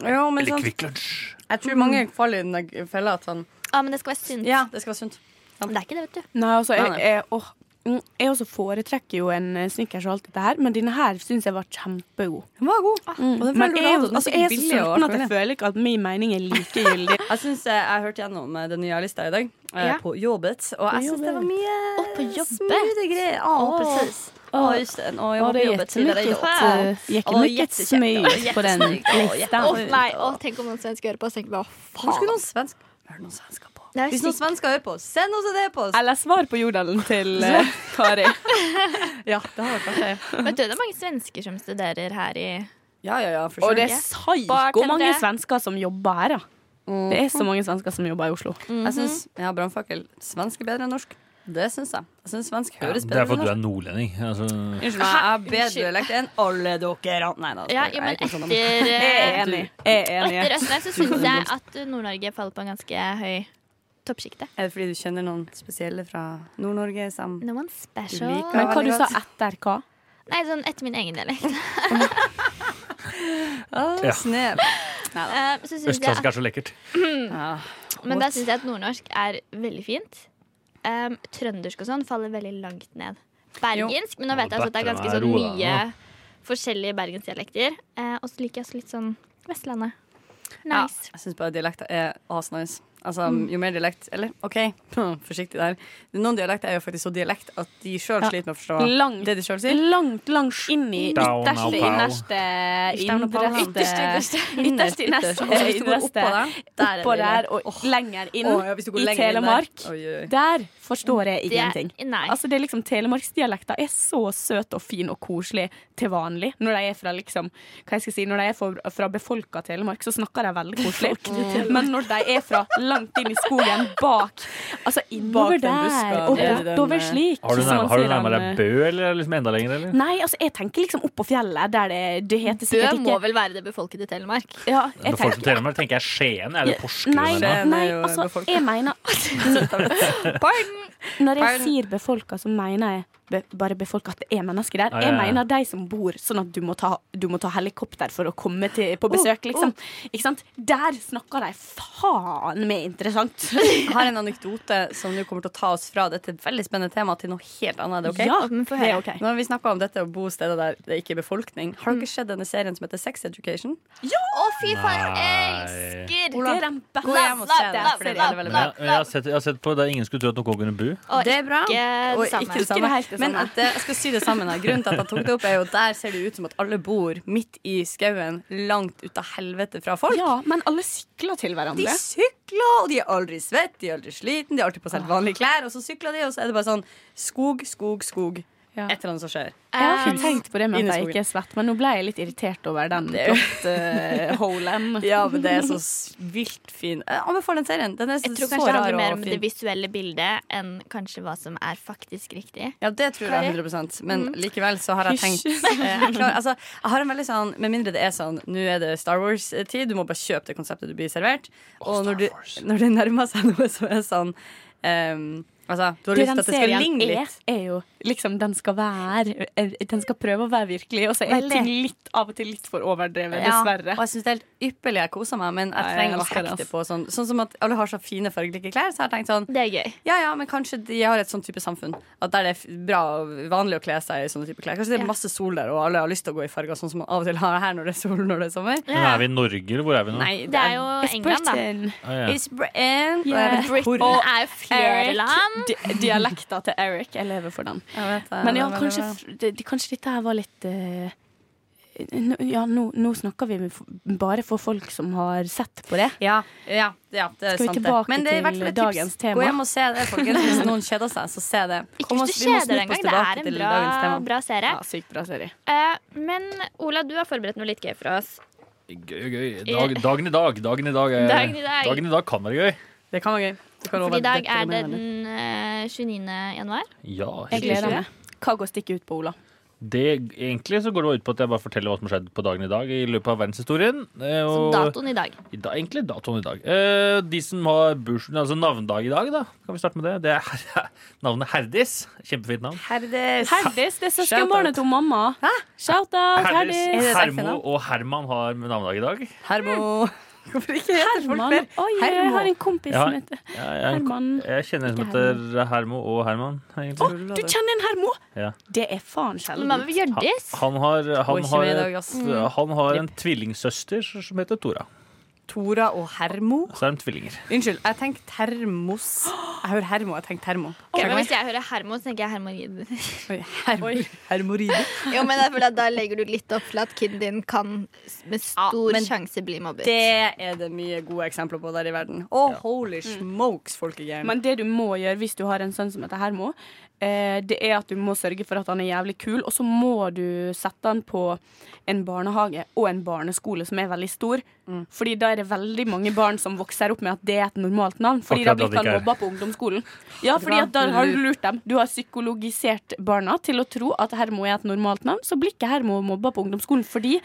D: Ja, men
G: Eller
D: sant?
G: Kvikk Lunsj.
D: Jeg tror mange faller i den der fella at sånn
C: Ja, men det skal være sunt.
D: Ja, det skal være sunt.
C: Men det er ikke det, vet du.
F: Nei, altså, jeg,
D: Nei, nei.
F: jeg, åh, mm, jeg også foretrekker jo en eh, Snickers og alt dette her, men denne her syns jeg var kjempegod.
D: Den var god. Og den
F: Men
D: føler du
F: jeg, er
D: av,
F: jo-
D: og den Ah, er
F: altså, jeg er så
D: billig og alt
F: sulten at
D: mulig.
F: jeg føler ikke at min mening er likegyldig.
D: Jeg synes, eh, jeg hørte gjennom eh, den nye lista i dag, eh,
C: Ja.
D: på jobbet, og jeg syns det var mye
C: Å, på jobbet!
D: Smidige greier. Ja,
C: Åh.
D: precis. Ja, just det. Ja, jag
F: Ja,
D: var på
F: det är
D: jobbet tidigare idag.
F: jättemycket, eh,
D: Ja, det var
F: jättemycket
D: jättekäckt.
F: smyg
D: Ja, det
F: på
D: var
F: den
D: jättesnyggt. Ja,
F: listan.
D: jättesnyggt.
C: Åh, nei, åh, Tenk om noen svensker hører på og tenker bare
D: Hur skulle
C: faen.
D: någon svensk... Hör någon svenska på?
C: Det er
D: Hvis noen
C: sikkert-
D: svensker hører på, send oss en e-post!
F: Eller svar på jordalen til eh, Kari.
D: Ja, det har vært artig.
C: Vet du, det er mange svensker som studerer her i
D: Ja, ja, ja, for
F: Og det
D: sure.
F: er psyko
C: Bartender.
F: mange svensker som jobber her, ja. Det er så mange svensker som jobber i Oslo.
D: Jeg syns ja, brannfakkel svensk er bedre enn norsk. Det syns jeg. Jeg syns svensk
G: Ja,
D: høres
G: det
D: bedre
G: er fordi
D: enn
G: du
D: norsk.
G: er nordlending. Altså,
D: Unnskyld meg, jeg har bedre dialekt enn alle dere. Nei da.
C: Ja, ja men
D: jeg er ikke
C: etter,
D: sånn.
F: Jeg er
C: eh,
F: enig. Jeg er enig.
C: etter Østnes så syns jeg at Nord-Norge faller på en ganske høy toppsjikte.
D: Er det fordi du kjenner noen spesielle fra Nord-Norge? Sam?
C: No one special.
D: Du liker-
F: Men hva du sa etter hva?
C: Nei, sånn etter min egen dialekt.
D: Ah,
G: Ja.
D: Snev.
C: Eh, så synes jeg at,
G: Østlandsk er så lekkert.
D: Ja.
C: men da syns jeg at nordnorsk er veldig fint. Um, trøndersk og sånn faller veldig langt ned. Bergensk, men nå vet jeg altså at det er ganske sånn
G: Ro deg nå.
C: mye forskjellige bergensdialekter. Eh, og så liker jeg også litt sånn Vestlandet.
D: Ja,
C: Nice.
D: jeg syns bare dialekter er asnice. Altså, Jo mer dialekt Eller OK, forsiktig der. Noen dialekter er jo faktisk så dialekt at de sjøl
F: Ja.
D: sliter med å forstå
F: Langt,
D: det de sjøl sier.
F: langt, langt inn i
G: Down og
F: ytterste,
G: pow.
F: innerste, innerste Ytterst innerst.
D: Altså, hvis du går oppå der, der er
F: Oppå
D: det
F: der
D: dialekt.
F: og
D: Åh,
F: lenger inn
D: åh, ja, hvis du går
F: i
D: lenger inn der.
F: Telemark.
D: Oi, oi, oi.
F: Der forstår jeg
C: Det er-
F: ingenting.
C: nei.
F: Altså, det er liksom, Telemarksdialekta er så søt og fin og koselig til vanlig. Når de er fra liksom, hva jeg skal si, når de er fra, fra befolka Telemark, så snakker de veldig koselig. Men når de er fra langt inn i skogen, bak Altså innover
D: Bak den
F: der
D: buska,
F: og
D: nede i den,
F: bortover
D: eh,
F: slik.
G: Har du
F: som man
G: nærma- har du
F: sier han,
G: nærma
F: eh,
G: deg Bø, eller er det liksom enda lenger? Eller?
F: Nei, altså jeg tenker liksom oppå fjellet, der det, det heter
C: Bø
F: sikkert
C: må
F: ikke
C: vel være det befolkede Telemark.
F: ja, jeg
G: Når
F: tenker,
G: folk forteller meg, tenker jeg Skien. Er det
F: Eh,
G: Porsgrunn?
F: Nei,
G: eller noe?
D: Skien er
F: nei,
D: jo
F: altså,
D: befolket.
F: jeg mener
C: Pardon!
F: Når jeg
D: Pardon.
F: sier befolka, så mener jeg be, bare befolka at det er mennesker der.
G: Ja, ja,
F: Jeg
G: ja.
F: mener de som bor sånn at du må ta, du må ta helikopter for å komme til,
D: Oh,
F: på besøk, liksom. Ikke sant? Der snakker de faen meg interessant.
D: Jeg har en anekdote som nå kommer til å ta oss fra dette veldig spennende temaet til noe helt annet. Er det ok? Mm.
F: Ja,
C: men få
F: det er
C: høre.
F: ok.
D: Nå har vi snakka om dette å bo steder der det ikke er befolkning. Har dere sett denne serien som heter Sex Education?
C: Å, fy faen,
G: Nei.
C: jeg elsker!
F: Det er den
D: Gå hjem og
F: beste.
D: se den, for det er veldig, veldig bra.
G: Men jeg, jeg, har sett, jeg har sett på det ingen skulle tro at noen kunne bo.
C: Og
D: Det er bra.
C: ikke det
D: Og
C: samme.
D: ikke det
F: Ikke
D: samme.
F: det helt det
D: Men
F: samme.
D: at det, jeg skal sy det sammen. her. Grunnen til at jeg tok det opp, er jo der ser det ut som at alle bor midt i skauen, langt ut av helvete fra folk.
F: Ja, men alle sykler til
D: De
F: hverandre.
D: sykler, og de er aldri svett, de er aldri sliten, de har alltid på seg vanlige klær, og så sykler de, og så er det bare sånn skog, skog, skog.
F: Ja.
D: Et eller annet som skjer.
F: Jeg har ikke tenkt på det med
D: Um, Inn i
F: at jeg
D: skogen.
F: ikke er svett, men nå ble jeg litt irritert over den plott-holen.
D: Ja, men det er så s- vilt fin. Jeg anbefaler den serien. Den er så,
C: Jeg tror
D: så
C: kanskje det
D: rar
C: handler mer om
D: og
C: det
D: fin.
C: visuelle bildet enn kanskje hva som er faktisk riktig.
D: Ja, det tror jeg Mm. 100 Men likevel så har jeg tenkt eh, jeg, klarer, altså, jeg har en veldig sånn Med mindre det er sånn Nå er det Star Wars-tid, du må bare kjøpe det konseptet du blir servert. Og når, du, når det nærmer seg noe som er sånn ehm, Altså, du har
F: Det den
D: lyst til at det skal
F: serien
D: ligne
F: er,
D: litt.
F: er jo liksom Den skal være eh, Den skal prøve å være virkelig, og så er
D: Veldig.
F: ting litt, av og til litt for overdrevet,
D: Ja,
F: dessverre.
D: Og jeg syns det er helt ypperlig jeg koser meg, men
F: Nei,
D: jeg
F: jeg
D: trenger å
F: elsker det,
D: hekte
F: ass.
D: på sånn. Sånn som at alle har så fine fargelike klær, så jeg har tenkt sånn
C: Det er gøy.
D: Ja, ja, men kanskje de har et sånn type samfunn. At der det er f- bra og vanlig å kle seg i sånne type klær. Kanskje det er
C: Ja.
D: masse sol der, og alle har lyst til å gå i farger, sånn som man av og til har her når det er sol når det er sommer.
G: Men er vi i Norge, eller hvor er vi nå?
D: Nei,
C: Det er jo England, da. eh,
G: Ah, ja.
D: It's Britain.
F: Yeah.
D: Og jeg vet hvor-
C: Britain er jo flere land.
F: Eric, di dialekta til Eric. Jeg lever for den.
D: Jeg vet det,
F: Men
D: det
F: ja,
D: er veldig
F: kanskje,
D: bra.
F: f- det, det- kanskje dette her var litt eh, n- Ja, nå, nå snakker vi med f- bare for folk som har sett på det.
D: Ja, ja, ja, det
F: Skal
D: er
F: vi
D: sant det.
F: tilbake
D: Men det er i hvert
F: til
D: fall et
F: dagens
D: tips.
F: tema?
D: Gå hjem og se det, folkens. Hvis noen kjeder seg, så se det.
C: Ikke hvis du
D: vi må
C: kjeder deg
D: snuppe
C: engang. Det
D: oss tilbake
C: er en
D: til
C: bra,
D: dagens tema.
C: bra serie.
F: Ja, sykt bra serie.
C: Eh, men Ola, du har forberedt noe litt gøy for oss.
G: Gøy, gøy. Dag, dagen i dag. Dagen i dag, er,
C: Dagen i dag.
G: dagen i dag kan være gøy.
D: Det kan være gøy. Du kan love
C: For i
D: at
C: dag
D: dette
C: er det
D: kommer med.
C: den eh, 29. januar.
G: Ja,
F: Jeg
G: helt riktig.
F: gleder meg. Hva går stikket ut på, Ola?
G: det, egentlig så går det ut på at jeg bare forteller hva som har skjedd på dagen i dag i løpet av verdenshistorien. eh,
C: Så
G: og-
C: datoen i dag.
G: I dag, egentlig datoen i dag. Eh, de som har bursdag, altså navndag i dag, da, kan vi starte med det. Det er navnet Herdis. Kjempefint navn.
D: Herdis.
F: Herdis, det er søskenbarnet til mamma. Shout-out, Herdis.
D: det et ekte
G: Hermo
D: navn?
G: og Herman har navnedag i dag.
D: Hermo. Hvorfor ikke heter folk
F: Herman.
D: mer?
F: Oi, jeg
D: Hermo.
F: har en kompis
G: Ja.
F: som heter
G: Jeg, jeg,
F: Herman.
G: jeg kjenner en som
F: Ikke
G: heter Hermo og Herman.
F: Å,
G: egentlig.
F: du kjenner en Hermo?
G: Ja.
F: Det er
C: Men
F: faen
C: hva
F: sjelden.
C: med Hjørdis?
G: Han har, han,
D: ikke
G: har,
D: med i dag, ass.
G: et- han har en tvillingsøster som heter Tora.
D: Tora og Hermo.
G: Så er de tvillinger.
D: Unnskyld, jeg tenker termos. Jeg hører Hermo, jeg tenker termo.
C: Ok, men hvis jeg hører Hermo, så tenker jeg Hermorid.
D: Oi, her Hermoride.
C: Jo, men jeg føler at Da legger du litt opp til at kiden din kan med stor sjanse bli mobbet.
D: Det er det mye gode eksempler på der i verden. Å, holy smokes, folkegæren.
F: Men det du må gjøre hvis du har en sønn som heter Hermo, eh, det er at du må sørge for at han er jævlig kul, og så må du sette han på en barnehage og en barneskole som er veldig stor.
D: Mm.
F: Fordi da er det veldig mange barn som vokser opp med at det er et normalt navn. Fordi da
G: Akkurat da det
F: blir ikke han
G: ikke er.
F: mobba på ungdomsskolen. Ja, fordi at da har du lurt dem. Du har psykologisert barna til å tro at Hermo er et normalt navn, så blir ikke Hermo mobba på ungdomsskolen fordi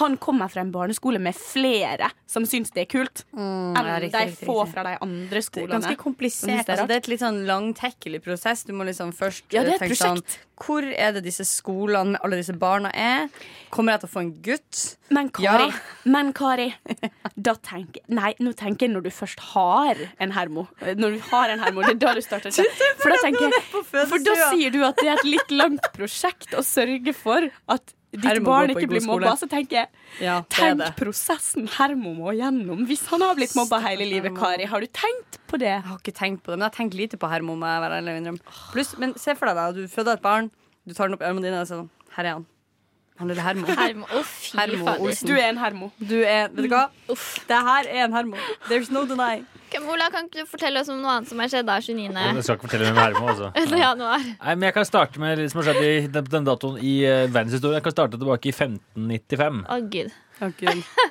F: han kommer fra en barneskole med flere som syns det er kult, enn
D: Mm, ja, riktig,
F: de
D: riktig,
F: få
D: riktig.
F: fra de andre
D: Det er
F: skolene.
D: ganske komplisert. Altså, det er et litt sånn langtekkelig prosess. Du må liksom først
F: Ja, det er
D: eh,
F: et
D: tenke sånn Hvor er det disse skolene med alle disse barna er? Kommer jeg til å få en gutt?
F: Men Kari,
D: Jari.
F: men Kari da tenker, Nei, nå tenker jeg når du først har en hermo. Når du har en hermo, Det er da du starter. For da, tenker, jeg-
D: på fødselstua.
F: for da sier du at det er et litt langt prosjekt å sørge for at ditt
D: Hermo
F: barn
D: går på en
F: ikke blir
D: god skole.
F: mobba. Så tenker jeg,
D: Ja, det er
F: tenk
D: det.
F: prosessen Hermo må gjennom hvis han har blitt mobba hele livet, Kari. Har du tenkt på det?
D: Jeg har ikke tenkt på det, men jeg har tenkt lite på Hermo. må jeg være ærlig og innrømme. Pluss, men se for deg da, du føder et barn, du tar den opp i armene dine og sier sånn Her er han. Han lille Hermo.
C: Hermo, å fy
D: Hermo
C: fader.
D: Olsen.
F: Du er en hermo.
D: Du er Vet du hva? Det her er en Hermo. There's no deny.
C: Ok, men Ola, kan ikke du fortelle oss om noe annet som har skjedd da 29.
G: Jeg skal ikke fortelle hvem Hermo altså.
C: januar?
G: Nei, men Jeg kan starte med litt som har skjedd i den, den datoen i eh, verdenshistorien. Jeg kan starte tilbake i 1595.
C: Å, gud.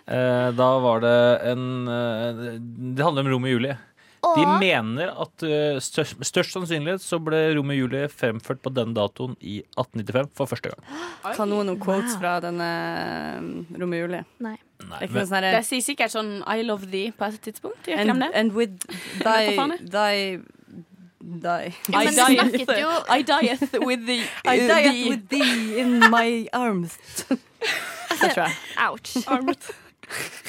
G: Eh, da var det en eh, Det handler om Romeo og Julie. De mener at eh, størst, med størst sannsynlighet så ble Romeo og Julie fremført på den datoen i 1895 for første gang.
D: Kan noen noen quotes fra denne eh, Romeo og Julie?
C: Nei.
G: Nei,
D: Er ikke
G: men,
D: noe sånn
F: De
D: herre
F: sier sikkert sånn I love thee på et tidspunkt. Gjør ikke
D: and,
F: de det?
D: and with
F: Hva faen er
D: thy thy thy
C: Ja,
F: I
C: men du
F: dieth.
C: snakket jo
F: I dieth with the,
D: I dieth
F: the-
D: with thee in my arms. Det tror jeg.
C: Ouch.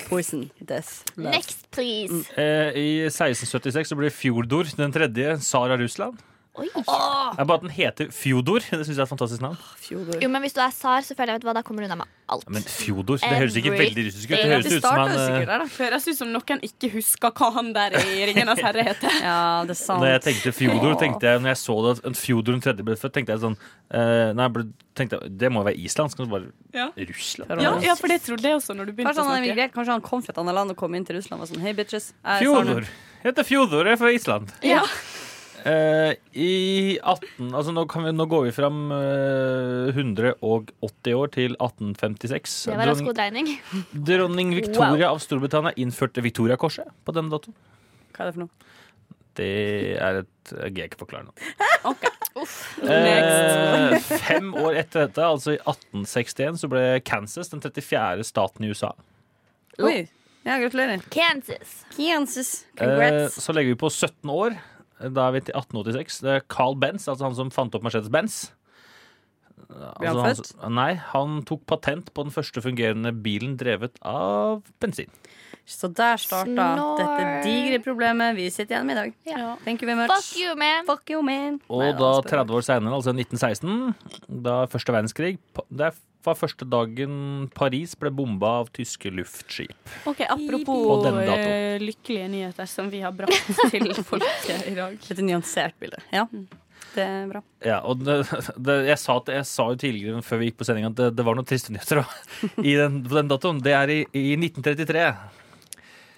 D: Poison. Death. Love.
C: Next,
D: Mm.
C: please.
G: eh, I 1676 så ble Fjordor den tredje tsar av Russland.
C: Oi.
G: Det er bare at den heter Fjodor. Det syns jeg er et fantastisk navn.
D: Fjodor.
C: Jo, men Hvis du er SAR, så føler jeg vet du hva, da kommer du unna med alt.
G: Ja, Men Fjodor, det høres ikke
C: Every-
G: veldig russisk ut. Det høres
D: Det
G: ut som
D: starta
G: han
D: jo
G: eh,
D: sikkert der, da.
F: Høres ut som noen ikke husker hva han der i Ringenes herre heter.
D: Ja, det er sant.
G: Når jeg tenkte Fjodor, tenkte jeg, når jeg så det at en Fjodor den tredje ble født, tenkte jeg sånn eh, Nei, ble, tenkte jeg, det må jo være islandsk. Og så bare
F: Ja.
G: Russland.
F: Ja, ja, for det sånn trodde jeg også når du begynte å
D: Kanskje han
F: snakke.
D: emigrerte, kanskje han kom fra et annet land og kom inn til Russland og var sånn Hei, bitches. jeg er
G: Fjodor.
D: Sarne».
G: Jeg heter Fjodor, jeg er fra Island.
F: Ja.
G: Eh, I 18 Altså, nå, kan vi, nå går vi fram eh, 180 år til 1856.
C: Det var rask hoderegning.
G: dronning Victoria av Storbritannia innførte Victoria-korset på denne datoen.
D: Hva er det for noe?
G: Det er et Jeg greier ikke å forklare nå.
F: Ok.
G: Eh, fem år etter dette, altså i 1861, så ble Kansas den 34. staten i USA.
D: Oi. Ja, gratulerer.
C: Kansas.
D: Kansas.
G: Eh,
D: Congrats.
G: så legger vi på 17 år. Da er vi til 1886. Det er Carl Benz, altså han som fant opp Mercedes-Benz.
D: Ble han
G: Altså, han- Nei, han tok patent på den første fungerende bilen drevet av bensin.
D: Så der starta
C: Snor.
D: dette digre problemet vi sitter igjen med i dag.
C: Ja.
D: Thank you very much.
C: Fuck you, man!
D: Fuck you, man.
G: Og
D: Nei,
G: da,
D: han spør.
G: 30 år senere, altså 1916, da første verdenskrig pa- Det er- var første dagen Paris ble bomba av tyske luftskip.
F: Ok,
G: På
F: Apropos
G: den dato.
F: eh, lykkelige nyheter som vi har brakt til folket i dag.
D: Et nyansert bilde. Ja, det er bra.
G: Ja, og det, det, jeg, sa, at- jeg sa jo tidligere før vi gikk på sending at det, det var noen triste nyheter også, i den, på den datoen. Det er i, i 1933.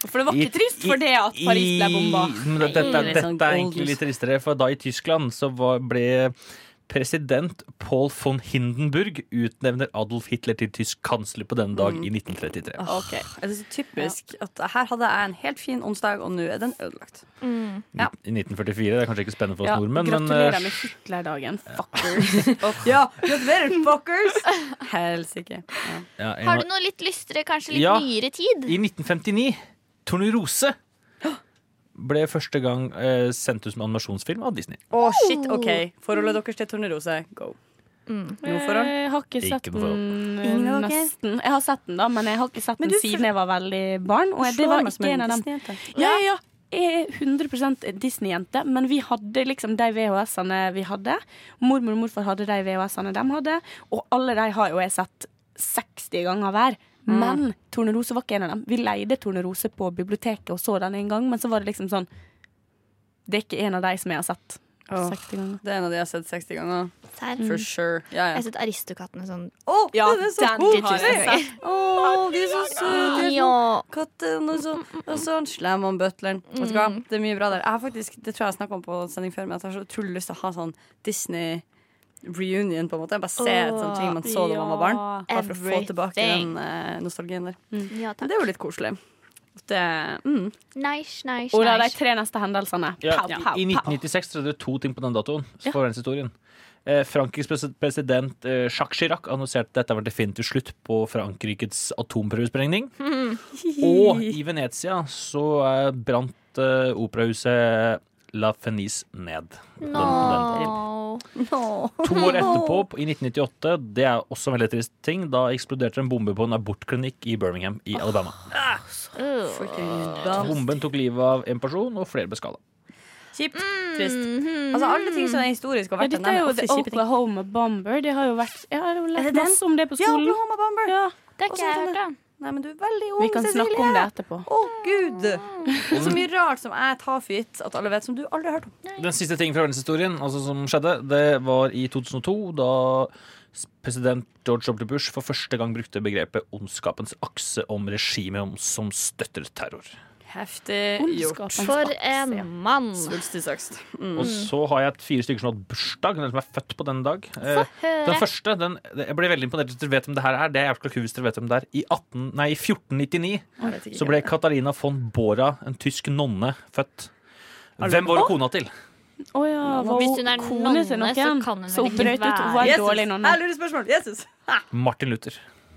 F: For det var
G: I-
F: ikke trist for
G: i-
F: det at Paris ble bomba.
G: i- Men dette, dette,
D: Litt
G: dette
D: sånn
G: er
D: old.
G: egentlig litt tristere, for da i Tyskland så var, ble president Paul von Hindenburg utnevner Adolf Hitler til tysk kansler på
F: Mm.
G: denne dag i 1933.
D: Ok. Jeg synes det er typisk at her hadde jeg en helt fin onsdag, og nå er den ødelagt. Ja.
G: I 1944. Det er kanskje ikke spennende for oss
F: Ja,
G: nordmenn, men
F: gratulerer
G: eh,
F: med Hitler-dagen, fuckers.
D: Ja, gratulerer, fuckers! Helsike. Ja.
G: ja, en
C: Har
G: av-
C: du noe litt lystere, kanskje litt
G: Ja.
C: nyere tid?
G: I 1959, Tornerose ble første gang eh, sendt ut som animasjonsfilm av Disney.
D: Å, shit, OK. Forholdet deres til Tornerose, go. Noe forhold?
F: Jeg Eh, har ikke
G: Ikke
F: sett
G: noe
F: den
D: Ingen av dere?
F: nesten. Jeg har sett den, da, men jeg har ikke sett
D: Men
F: den
D: du
F: siden
D: føl-
F: jeg var veldig barn. Og jeg, det var ikke en av dem. Ja, ja, ja. Jeg er 100 Disney-jente, men vi hadde liksom de VHS-ene vi hadde. Mormor og morfar hadde de VHS-ene de hadde, og alle de har jo jeg sett 60 ganger hver.
D: Mm.
F: Men Tornerose var ikke en av dem. Vi leide Tornerose på biblioteket og så den en gang, men så var det liksom sånn Det er ikke en av de som jeg har sett 60 ganger.
D: Det er en av de jeg har sett 60 ganger.
C: Serr?
D: For sure.
C: Mm.
D: Ja,
C: Jeg
D: ja.
C: har sett Aristokattene sånn
D: Å,
F: Ja,
D: den er så
F: den
D: god!
F: har jeg sett.
D: Å, de er så søte! de er så
C: Ja.
D: Katten og så, og så han slem om butleren. Vet du hva? Det er mye bra der. Jeg har faktisk, det tror jeg jeg snakket om på sending før, men jeg har så utrolig lyst til å ha sånn Disney reunion, på en måte. Jeg bare se
C: Åh,
D: sånne ting man så da man var barn. Bare for å få tilbake den
C: everything.
D: eh, nostalgien der.
C: Ja,
D: Men
C: takk.
D: det er jo litt koselig. Det,
F: eh,
D: mm.
C: Nice, nice,
F: Ola, de
C: nice.
F: tre neste hendelsene.
G: Ja,
F: Pow,
G: i,
F: pow,
G: I
F: pow.
G: 1996 trodde det to ting på den datoen for verdenshistorien. Eh, Frankrikes pres president eh, Jacques Chirac annonserte at dette var definitivt slutt på Frankrikes atomprøvesprengning. Og i Venezia så eh, brant eh, operahuset La Fenice ned. Den- den dagen.
C: No.
G: To år etterpå, på- i 1998, det er også en veldig trist ting, da eksploderte en bombe på en abortklinikk i Birmingham i Alabama.
C: Uh.
D: Freaking dumb.
G: Bomben tok livet av en person, og flere ble skada.
D: Kjipt. Trist. Altså alle ting som er historisk og
F: Mm-hmm. Ja,
D: verdt
F: dette er jo The
D: kjipe ting.
F: Oklahoma Bomber. Det har jo vært Jeg har jo
D: Er det
F: lært
D: den?
F: masse om det på
D: Ja,
F: skolen.
D: Oklahoma Bomber.
F: Ja,
C: Det har
F: sånn,
C: ikke jeg hørt, da.
D: Nei, men du er veldig ung,
F: vi kan snakke om det etterpå.
D: Å, gud! Det er så mye rart som jeg tar for gitt at alle vet, som du aldri har hørt om.
G: Den siste ting fra verdenshistorien altså som skjedde, det var i 2002, da president George W. Bush for første gang brukte begrepet ondskapens akse om regimet om- som støtter terror.
D: Heftig gjort.
F: Ondskapens
C: For
F: akse.
C: en mann.
D: Svulstig søkst. Mm.
G: Og så har jeg et fire stykker som har hatt bursdag, eller som er født på denne dag. Eh, Den
C: Høre.
G: første, den, jeg ble veldig imponert hvis dere vet hvem det her er. Det er jævla kult hvis dere vet hvem det er. I, 18, nei, i 1499
D: Jeg vet ikke
G: så ble Katarina von Bora, en tysk nonne, født.
D: Hallo.
G: Hvem var det kona til?
F: Å ja, var
C: Hvis
F: hun
C: hun er
F: kone til
C: nonne,
F: noen?
C: så kan hun
F: så
C: vel
F: hun
C: ikke
F: brøt ut. Hun var
D: Jesus.
F: en dårlig nonne.
D: Jeg lurer spørsmål. Jesus. Ha!
G: Martin Luther.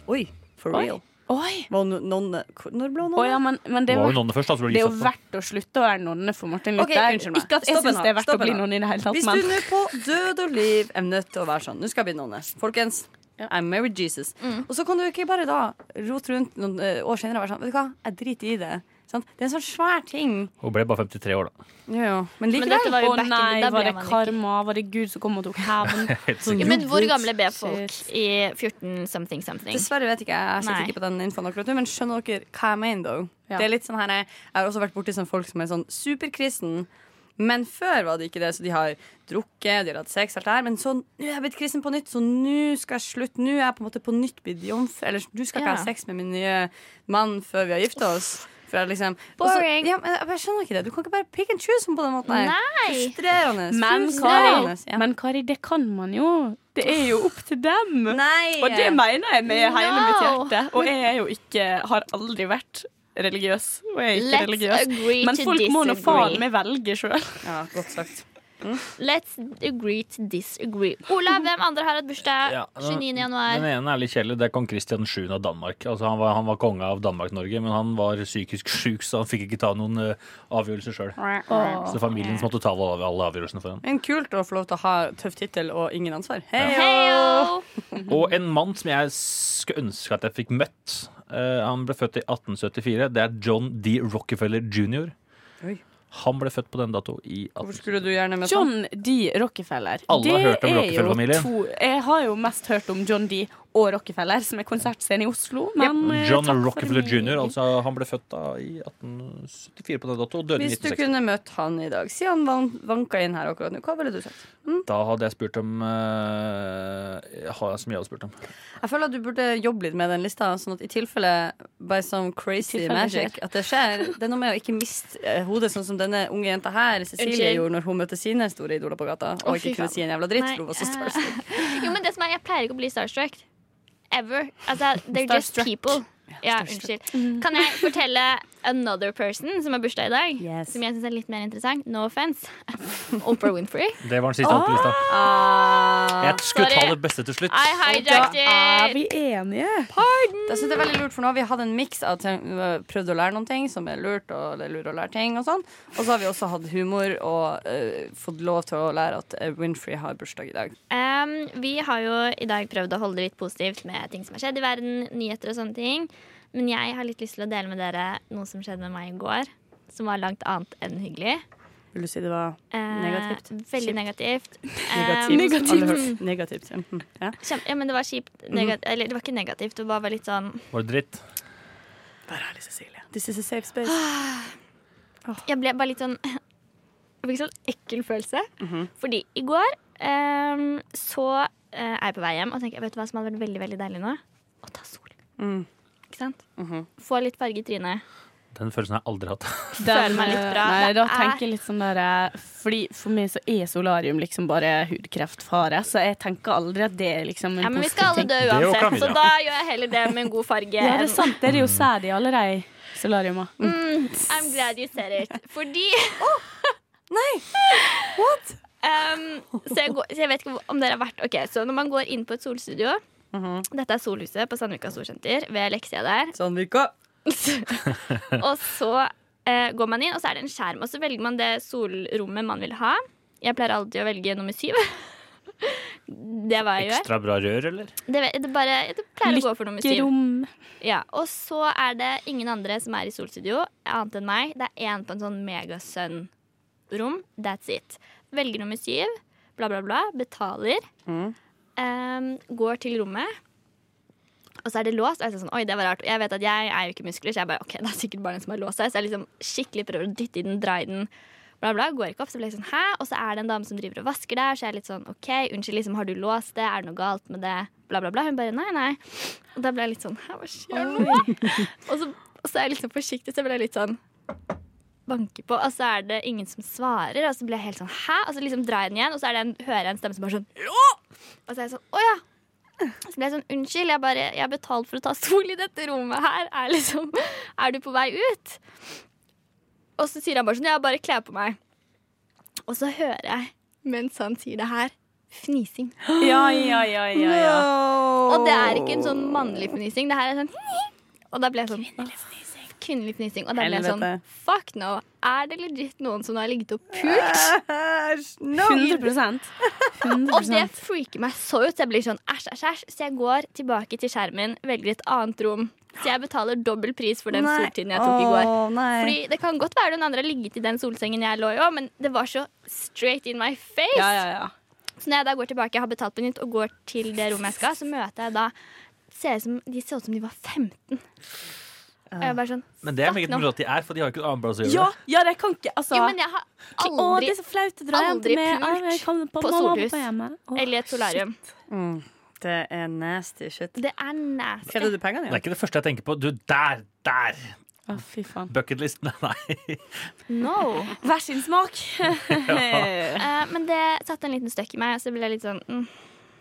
D: Oi, for
F: Oi.
D: real.
F: Oi.
D: Var hun nonne Hvor- Når ble hun
F: Å
D: nonne?
F: ja, men, men det,
G: Hun
F: er
G: var jo
F: verdt-
G: nonne først. da, så ble hun
F: det er jo
G: gift, da.
F: verdt å slutte å være nonne for Martin
D: Ok,
F: Luther.
D: unnskyld meg.
F: ikke at jeg
D: Stopp en
F: syns det er
D: her.
F: verdt å
D: Stopp
F: bli
D: en her.
F: nonne i det hele tatt,
D: Hvis du
F: men
D: nå på død og liv er nødt til å være sånn Nå skal jeg bli nonne. Folkens, I married Jesus. Og så kan du ikke bare da rote rundt noen eh, år senere og være sånn Vet du hva, jeg driter i det. Sant? Det er en sånn svær ting.
G: Hun ble bare 53 år, da.
D: Ja, ja. Men
C: Men
D: likevel.
C: dette var
F: Å
C: jo back in the
F: nei,
C: da ble
F: var det
C: man ikke-
F: karma? Var det Gud som kom og tok hevn?
G: Helt sikkert.
C: Ja, men hvor gamle ble folk i 14 something something?
D: Dessverre vet ikke jeg. Jeg sitter
C: Nei.
D: ikke på den infoen akkurat nå, men skjønner dere hva jeg mener, though?
F: Ja.
D: Det er litt sånn her, jeg har også vært borti sånn folk som er sånn superkristen. Men før var det ikke det, så de har drukket, de har hatt sex, alt det her. Men så nå er jeg blitt kristen på nytt, så nå skal jeg slutte. Nå er jeg på en måte på nytt blitt jomfru. Eller du skal ikke
C: Ja.
D: ha sex med min nye mann før vi har gifta oss. For jeg liksom og så-
C: Boring.
D: Ja, men jeg bare skjønner ikke det. Du kan ikke bare pick and choose sånn på den måten her.
C: Nei!
D: Frustrerende.
F: Men Kari,
D: Frustrerende. Ja.
F: men Kari, det kan man jo. Det er jo opp til dem.
D: Nei.
F: Og det mener jeg med hele
C: No.
F: mitt hjerte. Og jeg er jo ikke Har aldri vært religiøs. Og jeg er ikke
C: Let's
F: religiøs.
C: agree
F: Men
C: to
F: folk må nå
C: disagree.
F: faen meg velge sjøl.
D: Ja, godt sagt.
C: Let's agree to disagree. Ola, hvem andre har hatt bursdag?
G: Ja,
C: 29.
G: den- Den
C: januar.
G: ene er litt kjedelig. Det er kong Kristian 7. av Danmark. Altså, han, var, han var konge av Danmark-Norge, men han var psykisk sjuk, så han fikk ikke ta noen eh, avgjørelser sjøl. Så det er familien som måtte ta alle, alle avgjørelsene for ham.
D: Men kult å få lov til å ha tøff tittel og ingen ansvar. Hei,
C: Heyo!
G: Og en mann som jeg skulle ønske at jeg fikk møtt. eh, han ble født i 1874. Det er John D. Rockefeller jr.
D: Oi.
G: Han ble født på den dato i 18...
D: Hvorfor skulle du gjerne møtt ham?
F: John D. Rockefeller.
G: Sånn. Alle har
F: Det
G: hørt om
F: er jo
G: Rockefeller-familien.
F: to- Jeg har jo mest hørt om John D. og Rockefeller, som er konsertscene i Oslo. Men eh,
G: John
F: takk for
G: Rockefeller
F: meg.
G: jr. Altså, han ble født da i 1874 på den dato og døde i
D: Hvis du
G: 1960.
D: kunne møtt han i dag, si han van- vanka inn her akkurat nå, hva ville du sagt?
G: Da hadde jeg spurt om eh, ha- Som jeg hadde spurt om.
D: Jeg føler at du burde jobbe litt med den lista, sånn at i tilfelle by some crazy
F: tilfelle det
D: magic at det skjer. Det er noe med å ikke miste eh, hodet, sånn som denne unge jenta her, Cecilie,
C: Unnskyld.
D: gjorde når hun møtte sine store idoler på gata
C: Å,
D: og
C: fy
D: ikke kunne
C: faen.
D: si en jævla dritt.
C: Nei,
D: for hun var så
C: eh.
D: starstruck.
C: Jo, men det som er, Jeg pleier ikke å bli starstruck. Ever. Altså, they're just
F: Starstruck.
C: people. Ja, unnskyld. Kan jeg fortelle another person som har bursdag i dag?
D: Yes.
C: Som jeg syns er litt mer interessant. No offense. Oprah Winfrey.
G: Det var den siste hattelista.
D: Ah.
G: Jeg skulle ta
C: sorry.
G: det beste til slutt.
C: I hijacked
F: Da er
C: it.
F: vi enige.
D: Jeg synes det er veldig lurt, for nå har vi hatt en miks av ting- vi har prøvd å lære noen ting som er lurt, og det er lurt å lære ting, og sånn. Og så har vi også hatt humor og eh, fått lov til å lære at eh, Winfrey har bursdag i dag.
C: Um, vi har jo i dag prøvd å holde det litt positivt med ting som har skjedd i verden, nyheter og sånne ting. Men jeg har litt lyst til å dele med dere noe som skjedde med meg i går, som var langt annet enn hyggelig.
D: Vil du si det var
C: Eh,
D: Negativt.
C: Veldig negativt.
D: negativt?
C: Um,
D: Alle hørte negativt. Mhm. Ja.
C: kjem- ja, men det var kjipt. Nega- Eller det var ikke negativt, det var bare litt sånn
G: Var det dritt?
D: Bare ærlig, Cecilie. This is a safe space.
C: Jeg ble bare litt sånn Jeg fikk sånn ekkel følelse. Fordi i går ehm, så eh, er jeg på vei hjem og tenker Vet du hva som hadde vært veldig veldig deilig nå? Å ta sol. Ikke sant? Få litt farge i trynet.
G: Den følelsen har jeg aldri hatt.
C: Føler meg litt bra.
F: Nei, da
C: Det er-
F: tenker jeg litt sånn der eh, Fordi For meg så er solarium liksom bare hudkreftfare, så jeg tenker aldri at det er liksom en
C: Ja, men vi skal
F: positiv
C: alle dø
F: ting.
G: Det er jo
C: uansett,
G: Camilla.
C: så da gjør jeg heller det med en god farge.
F: Ja, det er
C: enn-
F: sant. Det er jo sæd i alle de solariuma.
C: I'm glad you said it. Fordi Nei! What? Um, så, jeg går, så jeg vet ikke om dere har vært Ok, så når man går inn på et solstudio Dette er Solhuset på Sandvika Storsenter ved Leksia der.
D: Sånn virka.
C: Og så eh, går man inn, og så er det en skjerm. Og så velger man det solrommet man vil ha. Jeg pleier alltid å velge nummer syv. Det er hva jeg gjør.
G: Ekstra bra rør, eller?
C: Det, vet- det bare, jeg pleier å gå for nummer syv.
F: Grom.
C: Ja, Og så er det ingen andre som er i solstudio, annet enn meg. Det er én på en sånn megasønn-rom. That's it. Velger nummer syv, bla, bla, bla. Betaler. Ehm, går til rommet. Og så er det låst. Og jeg er sånn, oi, det var rart. Og jeg vet at jeg er jo ikke muskler, så jeg bare, ok, det er sikkert bare den som har låst seg. Så jeg liksom skikkelig prøver å dytte i den, dra i den, bla, bla. Går ikke opp, så blir jeg sånn, hæ? Og så er det en dame som driver og vasker der, så jeg er litt sånn, ok, unnskyld, liksom, har du låst det? Er det noe galt med det? Bla, bla, bla. Hun bare, nei, nei. Og da ble jeg litt sånn, hæ, hva skjer nå? og, så, og så er jeg liksom forsiktig, så ble jeg litt sånn, banker på, og så er det ingen som svarer, og så blir jeg helt sånn, hæ? Og så liksom drar jeg den igjen, og så er det en, hører jeg en stemme som bare sånn, «Å!» og så er jeg sånn, åja, så ble jeg sånn, unnskyld, jeg, bare, jeg har betalt for å ta sol i dette rommet her. Er, liksom, er du på vei ut? Og så sier han bare sånn, jeg bare kler på meg. Og så hører jeg, mens han sier det her, fnising.
F: Ja, ja, ja, ja, ja.
C: Og det er ikke en sånn mannlig fnising, det her er sånn Og da ble jeg sånn Kvinnelig fnising. Kvinnelig fnising. Og da ble jeg sånn,
D: Helvete.
C: fuck no. Er det legit noen som har ligget og pult?
D: Æsj! No!
F: 100
C: Og
F: 100
C: det freaker meg så ut. Så jeg blir sånn æsj, æsj, æsj. Så jeg går tilbake til skjermen, velger et annet rom. Så jeg betaler dobbel pris for den soltiden jeg tok i går.
D: Åh, nei.
C: Fordi Det kan godt være noen andre har ligget i den solsengen jeg lå i òg, men det var så straight in my face.
F: Ja, ja, ja.
C: Så når jeg da går tilbake, jeg har betalt på nytt og går til det rommet jeg skal, så møter jeg da ser ut som, De ser ut som de var 15. Og jeg er bare sånn
G: Men det er meget
C: Fuck no.
G: moro at de er, for de har jo ikke noe annet plass å gjøre
F: Ja,
G: det.
F: ja, det kan ikke Altså.
C: Jo, men jeg har
F: Å,
C: aldri
F: det er så flaut å dra hjem
C: aldri
F: til meg.
C: pult
F: Ja, jeg kan-
C: på
F: mamma og
C: solhus.
F: pappa hjemme. Å.
C: Eller et solarium.
D: Mm. Det er nasty shit.
C: Det er nasty.
D: Krevde du pengene
G: Det er ikke det første jeg tenker på. Du, der! Der!
F: Å, fy faen.
G: Bucketlisten. Nei.
C: No.
F: Hver sin smak.
C: Eh, men det satte en liten støkk i meg, og så ble jeg litt sånn mm.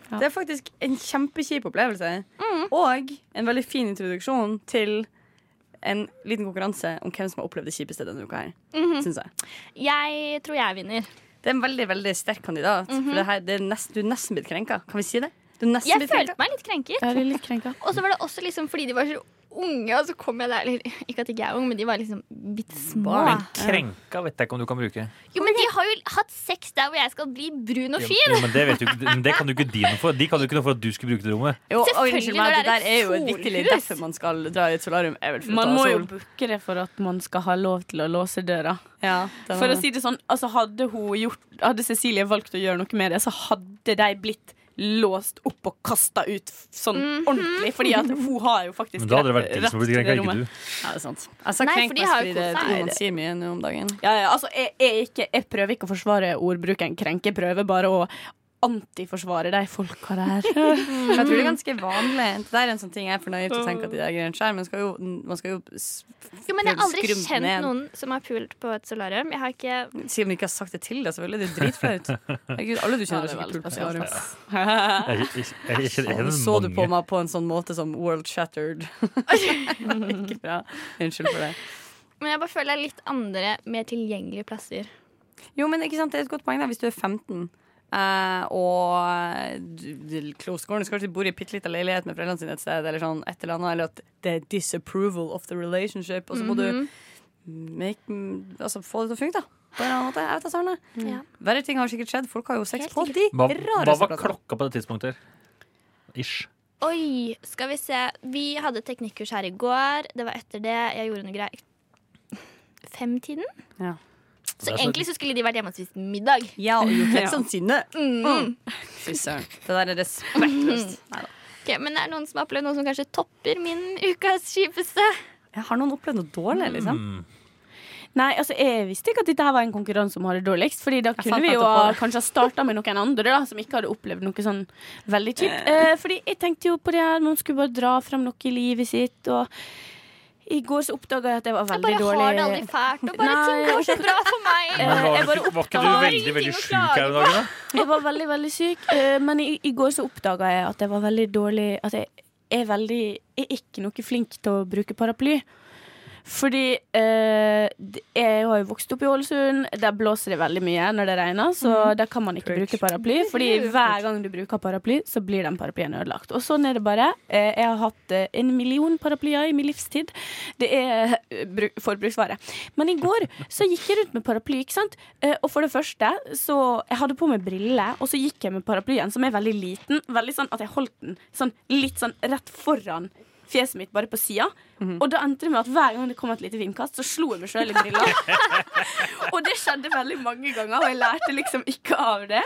D: Det er faktisk en kjempekjip opplevelse.
C: Mm.
D: Og en veldig fin introduksjon til en
C: Mhm.
D: liten konkurranse om hvem som har opplevd det kjipeste denne uka her. Synes jeg.
C: Jeg tror jeg vinner.
D: Det er en veldig veldig sterk kandidat. For det her, det er nesten, du er nesten blitt krenka. Kan vi si det? Du er nesten
C: Mhm. Jeg
D: blitt krenka.
C: følte meg litt krenket.
F: Jeg blir litt krenka.
C: Og så var det også liksom fordi de var så unge, og så kom jeg der eller, Ikke at jeg ikke er ung, men de var liksom bitte små.
D: Barn.
A: Men krenka vet jeg ikke om du kan bruke.
C: Jo, men de har jo hatt sex der hvor jeg skal bli brun og fin!
G: Jo, men det, vet du, ikke- men det kan du ikke de noe for. De kan du ikke noe for at du skulle bruke det rommet.
D: Jo, og
C: Selvfølgelig,
D: unnskyld
C: når
D: meg, det
C: det er
D: der
C: et
D: er jo et vitterlig
C: solhus.
D: derfor man skal dra i et solarium. Er vel for
F: Man
D: å ta
F: må jo
D: sol.
F: booke det for at man skal ha lov til å låse døra.
D: Ja, det
F: For
D: var
F: å
D: det.
F: si det sånn, altså hadde, hun gjort, hadde Cecilie valgt å gjøre noe med det, så hadde de blitt låst opp og kasta ut f- sånn
D: Mhm.
F: ordentlig. Fordi at hun har jo faktisk
G: Men da hadde det vært
F: rett-
G: de som ble
F: rett
G: krenka,
F: til
G: ikke du.
D: Ja, det er sant. Jeg sa
C: Nei,
D: krenk
C: for de
D: mest
C: har jo
D: fordi det er
C: kost seg.
D: noe man sier mye nå om dagen.
F: Ja, ja, altså, jeg, jeg, er ikke, jeg prøver ikke å forsvare ordbruken krenke, jeg prøver bare å antiforsvare de folka der.
D: Men Jeg tror det er ganske vanlig. Det der er en sånn ting jeg er for naiv til å tenke at de der greiene skjer, men skal jo, man skal jo s-
C: Jo, men jeg har aldri
D: Skrumt
C: kjent
D: ned.
C: noen som har pult på et solarium. Jeg har ikke
D: si om de ikke har sagt det til deg, selvfølgelig. Det er dritflaut. Herregud, Alle
F: Ja,
D: du kjenner
F: det
D: er
F: er
D: sikkert
F: veldig
D: pult på
F: spesielt,
D: solarium.
G: Jeg, jeg, jeg, jeg, jeg, jeg,
D: Nå så du på meg på en sånn måte som world shattered. ikke bra. Unnskyld for det.
C: Men jeg bare føler det er litt andre, mer tilgjengelige plasser.
D: Jo, men ikke sant, det er et godt poeng da, hvis du er 15 eh, og du, du- close corner, så kanskje de bor i en bitte liten leilighet med foreldrene sine et sted, eller sånn et eller annet, eller at det er disapproval of the relationship, og så må
C: Mhm.
D: du make, altså, få det til å funke, da. På en eller annen måte. Jeg vet da, Sarne.
C: Ja.
D: Verre ting har sikkert skjedd. Folk har jo sex
C: Helt
D: på
C: sikkert.
D: de
G: Hva, hva
D: rareste
G: var klokka på det tidspunktet? Ish.
C: Oi, skal vi se. Vi hadde teknikkurs her i går. Det var etter det. Jeg gjorde noe greier. Femtiden?
D: Ja.
C: Så egentlig så eh, skulle de vært hjemme og spist middag.
D: Ja, og gjort litt sånn sinne.
C: Mhm.
D: Mm. Fy søren. Det der er
C: Mm.
D: respektløst. Neida.
C: Ok, men det er noen som har opplevd noe som kanskje topper min ukas kjipeste.
D: Jeg har noen opplevd noe dårlig, liksom?
G: Mm.
F: Nei, altså jeg visste ikke at dette her var en konkurranse som hadde dårligst. Fordi da kunne
D: fant
F: vi jo
D: nettopp på det.
F: kanskje ha starta med noen andre da, som ikke hadde opplevd noe sånn veldig kjipt. Eh, fordi jeg tenkte jo på det her, noen skulle bare dra fram noe i livet sitt, og i går så oppdaga jeg at jeg var
C: Jeg
F: veldig
C: bare
F: dårlig.
C: har det aldri fælt, og bare
F: Nei,
C: ting går så bra for meg.
G: Men var,
F: jeg
G: du
F: bare
G: ikke- var ikke du
F: oppdager
G: veldig
C: ingenting
G: veldig
C: å
G: sjuk her om dagen? da?
F: Jeg var veldig, veldig syk, eh, men i, i går så oppdaga jeg at jeg var veldig dårlig At jeg er veldig Jeg er ikke noe flink til å bruke paraply. Fordi eh, d- jeg har jo vokst opp i Ålesund. Der blåser det veldig mye når det regner, så der kan man ikke bruke paraply. Fordi hver gang du bruker paraply, så blir den paraplyen ødelagt. Og sånn er det bare. Eh, jeg har hatt eh, en million paraplyer i min livstid. Det er eh, bru- forbruksvare. Men i går så gikk jeg rundt med paraply, ikke sant. Eh, og for det første så Jeg hadde på meg briller, og så gikk jeg med paraplyen, som er veldig liten. Veldig sånn at jeg holdt den sånn litt sånn rett foran fjeset mitt bare på sida. Og da endte det med at hver gang det kom et lite vindkast, så slo jeg meg sjøl i brilla. og det skjedde veldig mange ganger, og jeg lærte liksom ikke av det.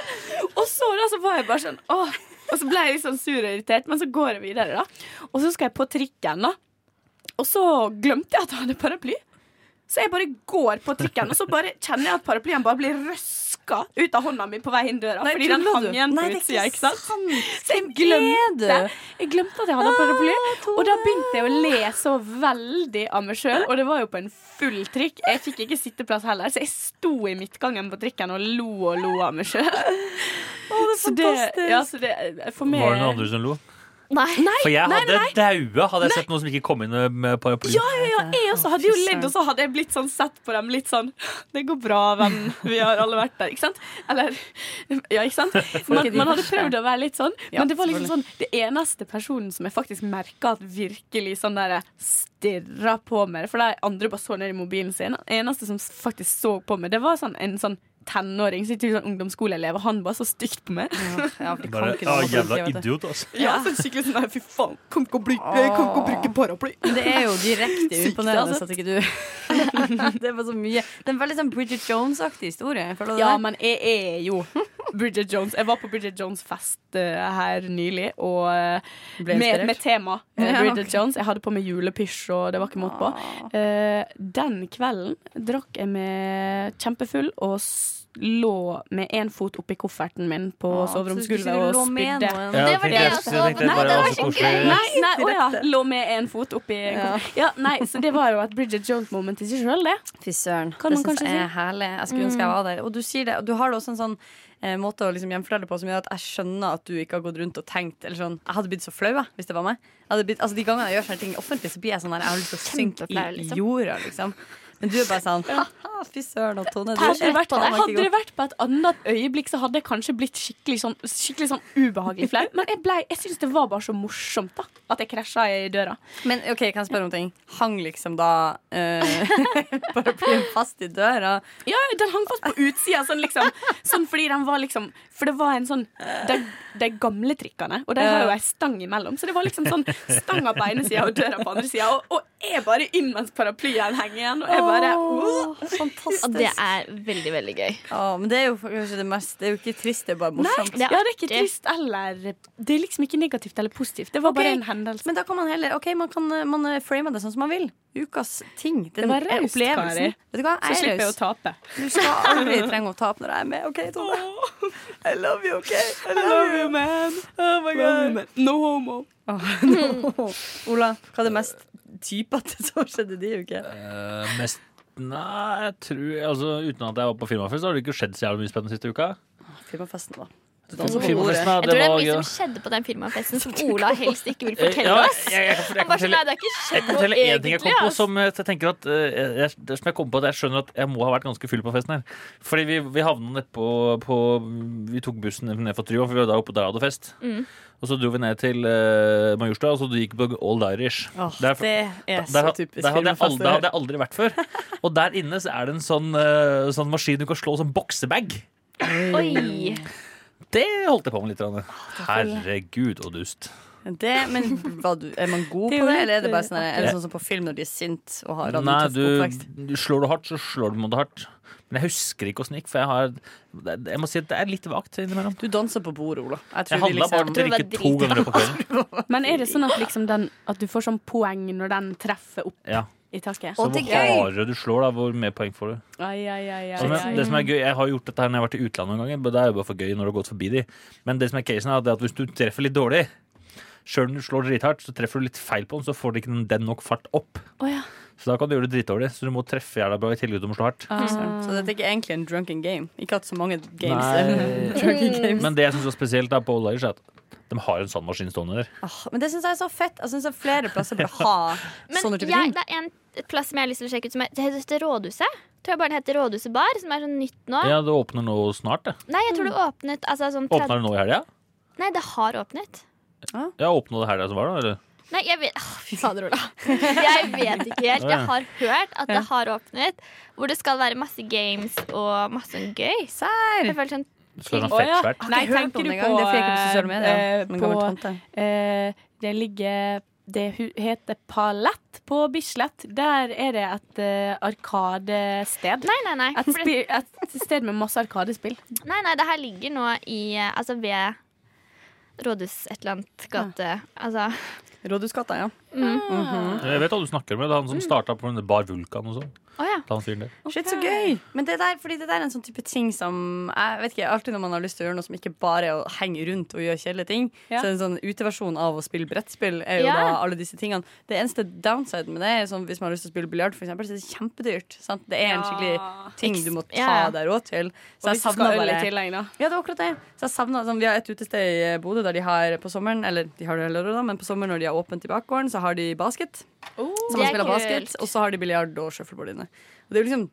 F: Og så da så var jeg bare sånn åh. Og så ble jeg litt sånn sur og irritert, men så går jeg videre, da. Og så skal jeg på trikken, da. Og så glemte jeg at jeg hadde paraply. Så jeg bare går på trikken, og så bare kjenner jeg at paraplyen bare blir røska ut av hånda mi på vei inn døra. fordi den hang igjen på utsida, ikke sant? Så jeg glemte, jeg glemte at jeg hadde paraply. Og da begynte jeg å le så veldig av meg sjøl, og det var jo på en full trikk. Jeg fikk ikke sitteplass heller, så jeg sto i midtgangen på trikken og lo og lo av meg sjøl. Så det, ja, så det for meg
G: Var det noen andre som lo?
C: Nei.
G: For jeg hadde daua hadde jeg sett noen som ikke kom inn med paraply.
F: Ja, ja, ja, jeg også hadde jo ledd, og så hadde jeg blitt sånn sett på dem litt sånn Det går bra, venn. Vi har alle vært der, ikke sant? Eller Ja, ikke sant? Man, man hadde prøvd å være litt sånn, men det var liksom sånn Det eneste personen som jeg faktisk merka at virkelig sånn der stirra på meg For de andre bare så ned i mobilen sin. Den eneste som faktisk så på meg, det var sånn en sånn tenåring, så ikke sånn ungdomsskoleelev, og han bare så stygt på meg.
D: Ja, vi kan
G: Bare,
D: ikke
G: ah,
D: noe
G: jævla
D: vet du.
G: idiot, altså.
F: Ja, sånn skikkelig sånn nei, fy faen, kan ikke å bli, jeg kan ikke å bruke paraply.
D: Men Det er jo direkte
F: Sykt,
D: imponerende
F: altså.
D: at ikke du Det var så mye Det er en veldig sånn Bridget Jones-aktig historie. Føler du
F: Ja,
D: det?
F: men jeg er jo Bridget Jones. Jeg var på Bridget Jones-fest eh, her nylig, og eh,
D: Ble
F: med,
D: inspirert?
F: med tema eh,
D: Ja, Ah.
F: Bridget Jones. Jeg hadde på meg julepysj, og det var ikke måte på. Eh, den kvelden drakk jeg meg kjempefull og s lå med én fot oppi kofferten min på
D: Åh, Ah, så
F: soveromsgulvet
D: du
F: og
D: lå med
F: spydde.
D: noen.
G: Ja,
C: Det var det
G: tenkte jeg
C: jeg så.
G: også. Jeg tenkte
C: Nei,
G: bare,
C: det var
G: altså,
C: så
G: hvorfor-
C: gøy.
F: Nei, nei, å ja. Lå med én fot oppi ja. ja, nei, Så det var jo et Bridget Jones-moment i seg sjøl, det.
D: Fy søren.
F: Kan
D: Det
F: man
D: syns jeg
F: kanskje
D: er herlig. Jeg skulle ønske jeg var der. Og du sier det. og Du har det også en sånn eh, måte å liksom hjemfortelle på som gjør at jeg skjønner at du ikke har gått rundt og tenkt eller sånn Jeg hadde blitt så flau, jeg, hvis det var meg. Jeg hadde blitt, altså, de gangene jeg gjør sånne ting offentlig, så blir jeg sånn her Jeg har lyst til å synke
C: Kjempeflau,
D: i
C: liksom.
D: jorda, liksom. Men du er bare sånn «Haha, Fy søren, at Tone.
F: Hadde det, vært,
D: på det.
F: hadde det vært på et annet øyeblikk, så hadde jeg kanskje blitt skikkelig sånn, skikkelig sånn ubehagelig flau. Men jeg, ble, jeg syns det var bare så morsomt da at jeg krasja i døra.
D: Men ok, kan jeg spørre om ting? Hang liksom da eh, paraplyen fast i døra?
F: Ja, Den hang fast på utsida, sånn liksom. Sånn fordi den var liksom For det var en sånn De, de gamle trikkene, og de har jo ei stang imellom, så det var liksom sånn stanga på ene sida og døra på andre sida, og, og jeg bare inn mens paraplyen henger igjen, og jeg bare
D: Åh,
C: Og det
D: fantastisk.
C: er veldig, veldig gøy.
D: Åh, men det er jo kanskje det mest Det er jo ikke trist, det er bare morsomt.
C: Det
F: Ja,
C: er
F: det er ikke
C: artig.
F: trist eller Det er liksom ikke negativt eller positivt. Det var bare
D: Ok,
F: en hendelse.
D: Men da kan man heller Ok, man kan eh, man eh, frame det sånn som man vil. Ukas ting. Den eh,
F: Det var raust,
D: opplevelsen.
F: Kari.
D: Vet du hva,
F: Så
D: jeg er
F: slipper jeg å
D: raus.
F: tape.
D: Du skal aldri trenge å tape når jeg er med. OK, Tone? I love you, OK? I love you.
F: No homo.
D: Ola, hva er det mest typete som skjedde de uke?
G: Eh, mest Nei, jeg tror altså, Uten at jeg var på firmafest, så har det ikke skjedd så jævlig mye spennende siste uka.
D: Firmafesten, da.
G: Firmafesten, ja,
C: Jeg tror det er
G: var
C: mye
G: gøy.
C: som skjedde på den firmafesten som Ola helst ikke vil
G: Eh,
C: fortelle
G: ja,
C: oss.
G: jeg- jeg kan for- jeg
C: Han
G: kan
C: bare sånn,
G: fortelle-
C: nei, det er ikke
G: Jeg
C: skjedd noe
G: kan fortelle én ting jeg kom
C: egentlig,
G: på
C: ass.
G: som eh, jeg tenker at eh, jeg, det som jeg kom på at jeg skjønner at jeg må ha vært ganske full på festen her. Fordi vi, vi havna nedpå på Vi tok bussen ned fra Tryvann, for vi var da oppe der og hadde fest.
C: Mm.
G: Og så dro vi ned til eh, Majorstua, og så gikk vi på Old Irish. Der-
D: det er
G: Der,
D: så
G: had-
D: typisk
G: der, hadde jeg aldri,
D: firmafester.
G: der hadde jeg aldri vært før. Og der inne så er det en sånn, eh, sånn maskin du kan slå som boksebag.
C: Oi.
G: Mm. Det holdt jeg på med litt. grann. Herregud og dust.
D: Det, men var du, er man god
F: Det er
D: på
F: jo
D: det, eller er det
F: litt,
D: bare sånn,
F: eh,
D: er det sånn som på film når de er sint og har hatt en
G: Nei,
D: tøff oppvekst?
G: du, du slår du hardt, så slår du med det hardt. Men jeg husker ikke åssen det gikk, for jeg har det- Jeg må si at det er litt vagt innimellom.
D: Du danser på bordet, Ola. Jeg
G: Jeg
D: tror vi
G: handla bare
D: liksom
C: jeg tror
G: om drikke
C: det var
G: to ganger i løpet av kvelden.
F: Men er det sånn at, liksom den, at du får sånn poeng når den treffer opp
G: Ja.
F: i taket?
G: Så
D: Og
G: hvor
D: det er gøy.
G: hardere du slår, da, hvor mer poeng får du.
D: Ai, ai, ai, ai,
G: Og men, det
D: ai.
G: som er gøy, Jeg har gjort dette her når jeg har vært i utlandet noen ganger, men det er jo bare for gøy når du har gått forbi de. Men det som er casen er at det at hvis du treffer litt dårlig, sjøl om du slår drithardt, så treffer du litt feil på den, så får du ikke den- den nok fart opp.
F: Å ja.
G: Så da kan du gjøre det dritdårlig, så du må treffe jævla bra i tillegg til å slå hardt.
D: Så dette er ikke egentlig en drunken game. Ikke hatt så mange games.
G: Nei.
D: drunken games.
G: Men det jeg syns var spesielt da på Old Irish, er at de har en sandmaskin stående der.
D: Åh, men det syns jeg er så fett. Altså, Jeg synes at Flere plasser burde ha
C: Men
D: sånne type
C: jeg,
D: ting.
C: det er en et plass som jeg har lyst til å sjekke ut, som er, det heter Rådhuset. Tror jeg bare det heter Rådhuset bar, som er sånn nytt nå.
G: Ja, det åpner nå snart, det.
C: Nei, jeg tror det åpnet altså, sånn
G: Åpner
C: 30
G: det nå i helga?
C: Nei, det har åpnet.
G: Ja, åpna det helga som var, da? Eller?
C: Nei, jeg vet Åh, Fy fader, Ola. Jeg vet ikke helt. Jeg har hørt at det har åpnet. Hvor det skal være masse games og masse sånn gøy.
D: Serr!
C: Jeg føler sånn
G: Skal det
F: Å
G: være
F: ja.
G: fettsvært?
F: Nei,
D: Hørt om
F: tenker du
D: det
F: på,
D: en gang. Det fikk jeg på Mm-hmm. sosiale medier.
F: eh,
D: Som en gammel
F: på,
D: tante.
F: eh, Det ligger Det hu- heter Palett på Bislett. Der er det et eh, arkadested.
C: Nei, nei, nei.
F: Et,
C: For det,
F: spi, et sted med masse arkadespill.
C: nei, nei det her ligger nå i eh, Altså ved Rådhus et eller annet gate. Altså
D: Rådhusgata, ja. Mm-hmm.
G: Jeg vet hva du snakker om. Det er han som starta på den Bar Vulkan og sånn.
C: Å ja.
G: Han fyren der.
D: Shit, så gøy! Men det der, fordi det der er en sånn type ting som Jeg vet ikke, Alltid når man har lyst til å gjøre noe som ikke bare er å henge rundt og gjøre kjedelige ting,
F: Ja.
D: så er det en sånn uteversjon av å spille brettspill er jo
C: Ja.
D: da alle disse tingene. Det eneste downsiden med det er sånn hvis man har lyst til å spille biljard, for eksempel, så er det kjempedyrt. Sant? Det er en skikkelig ting du må ta
C: Ja.
D: deg råd til.
F: Og
D: Så jeg
F: hvis du skal ha
D: savner
F: øl i
D: bare
F: tillegg, da.
D: ja, det er akkurat det. Så jeg savnet, sånn, vi har et utested i eh, Bodø der de har på sommeren Eller de har det hele året, da, men på sommeren når de har åpent i bakgården, så har de basket. så
C: Det
D: man
C: er
D: spiller basket,
C: kult.
D: Og så har de biljard og shuffleboard inne. Og det er jo liksom,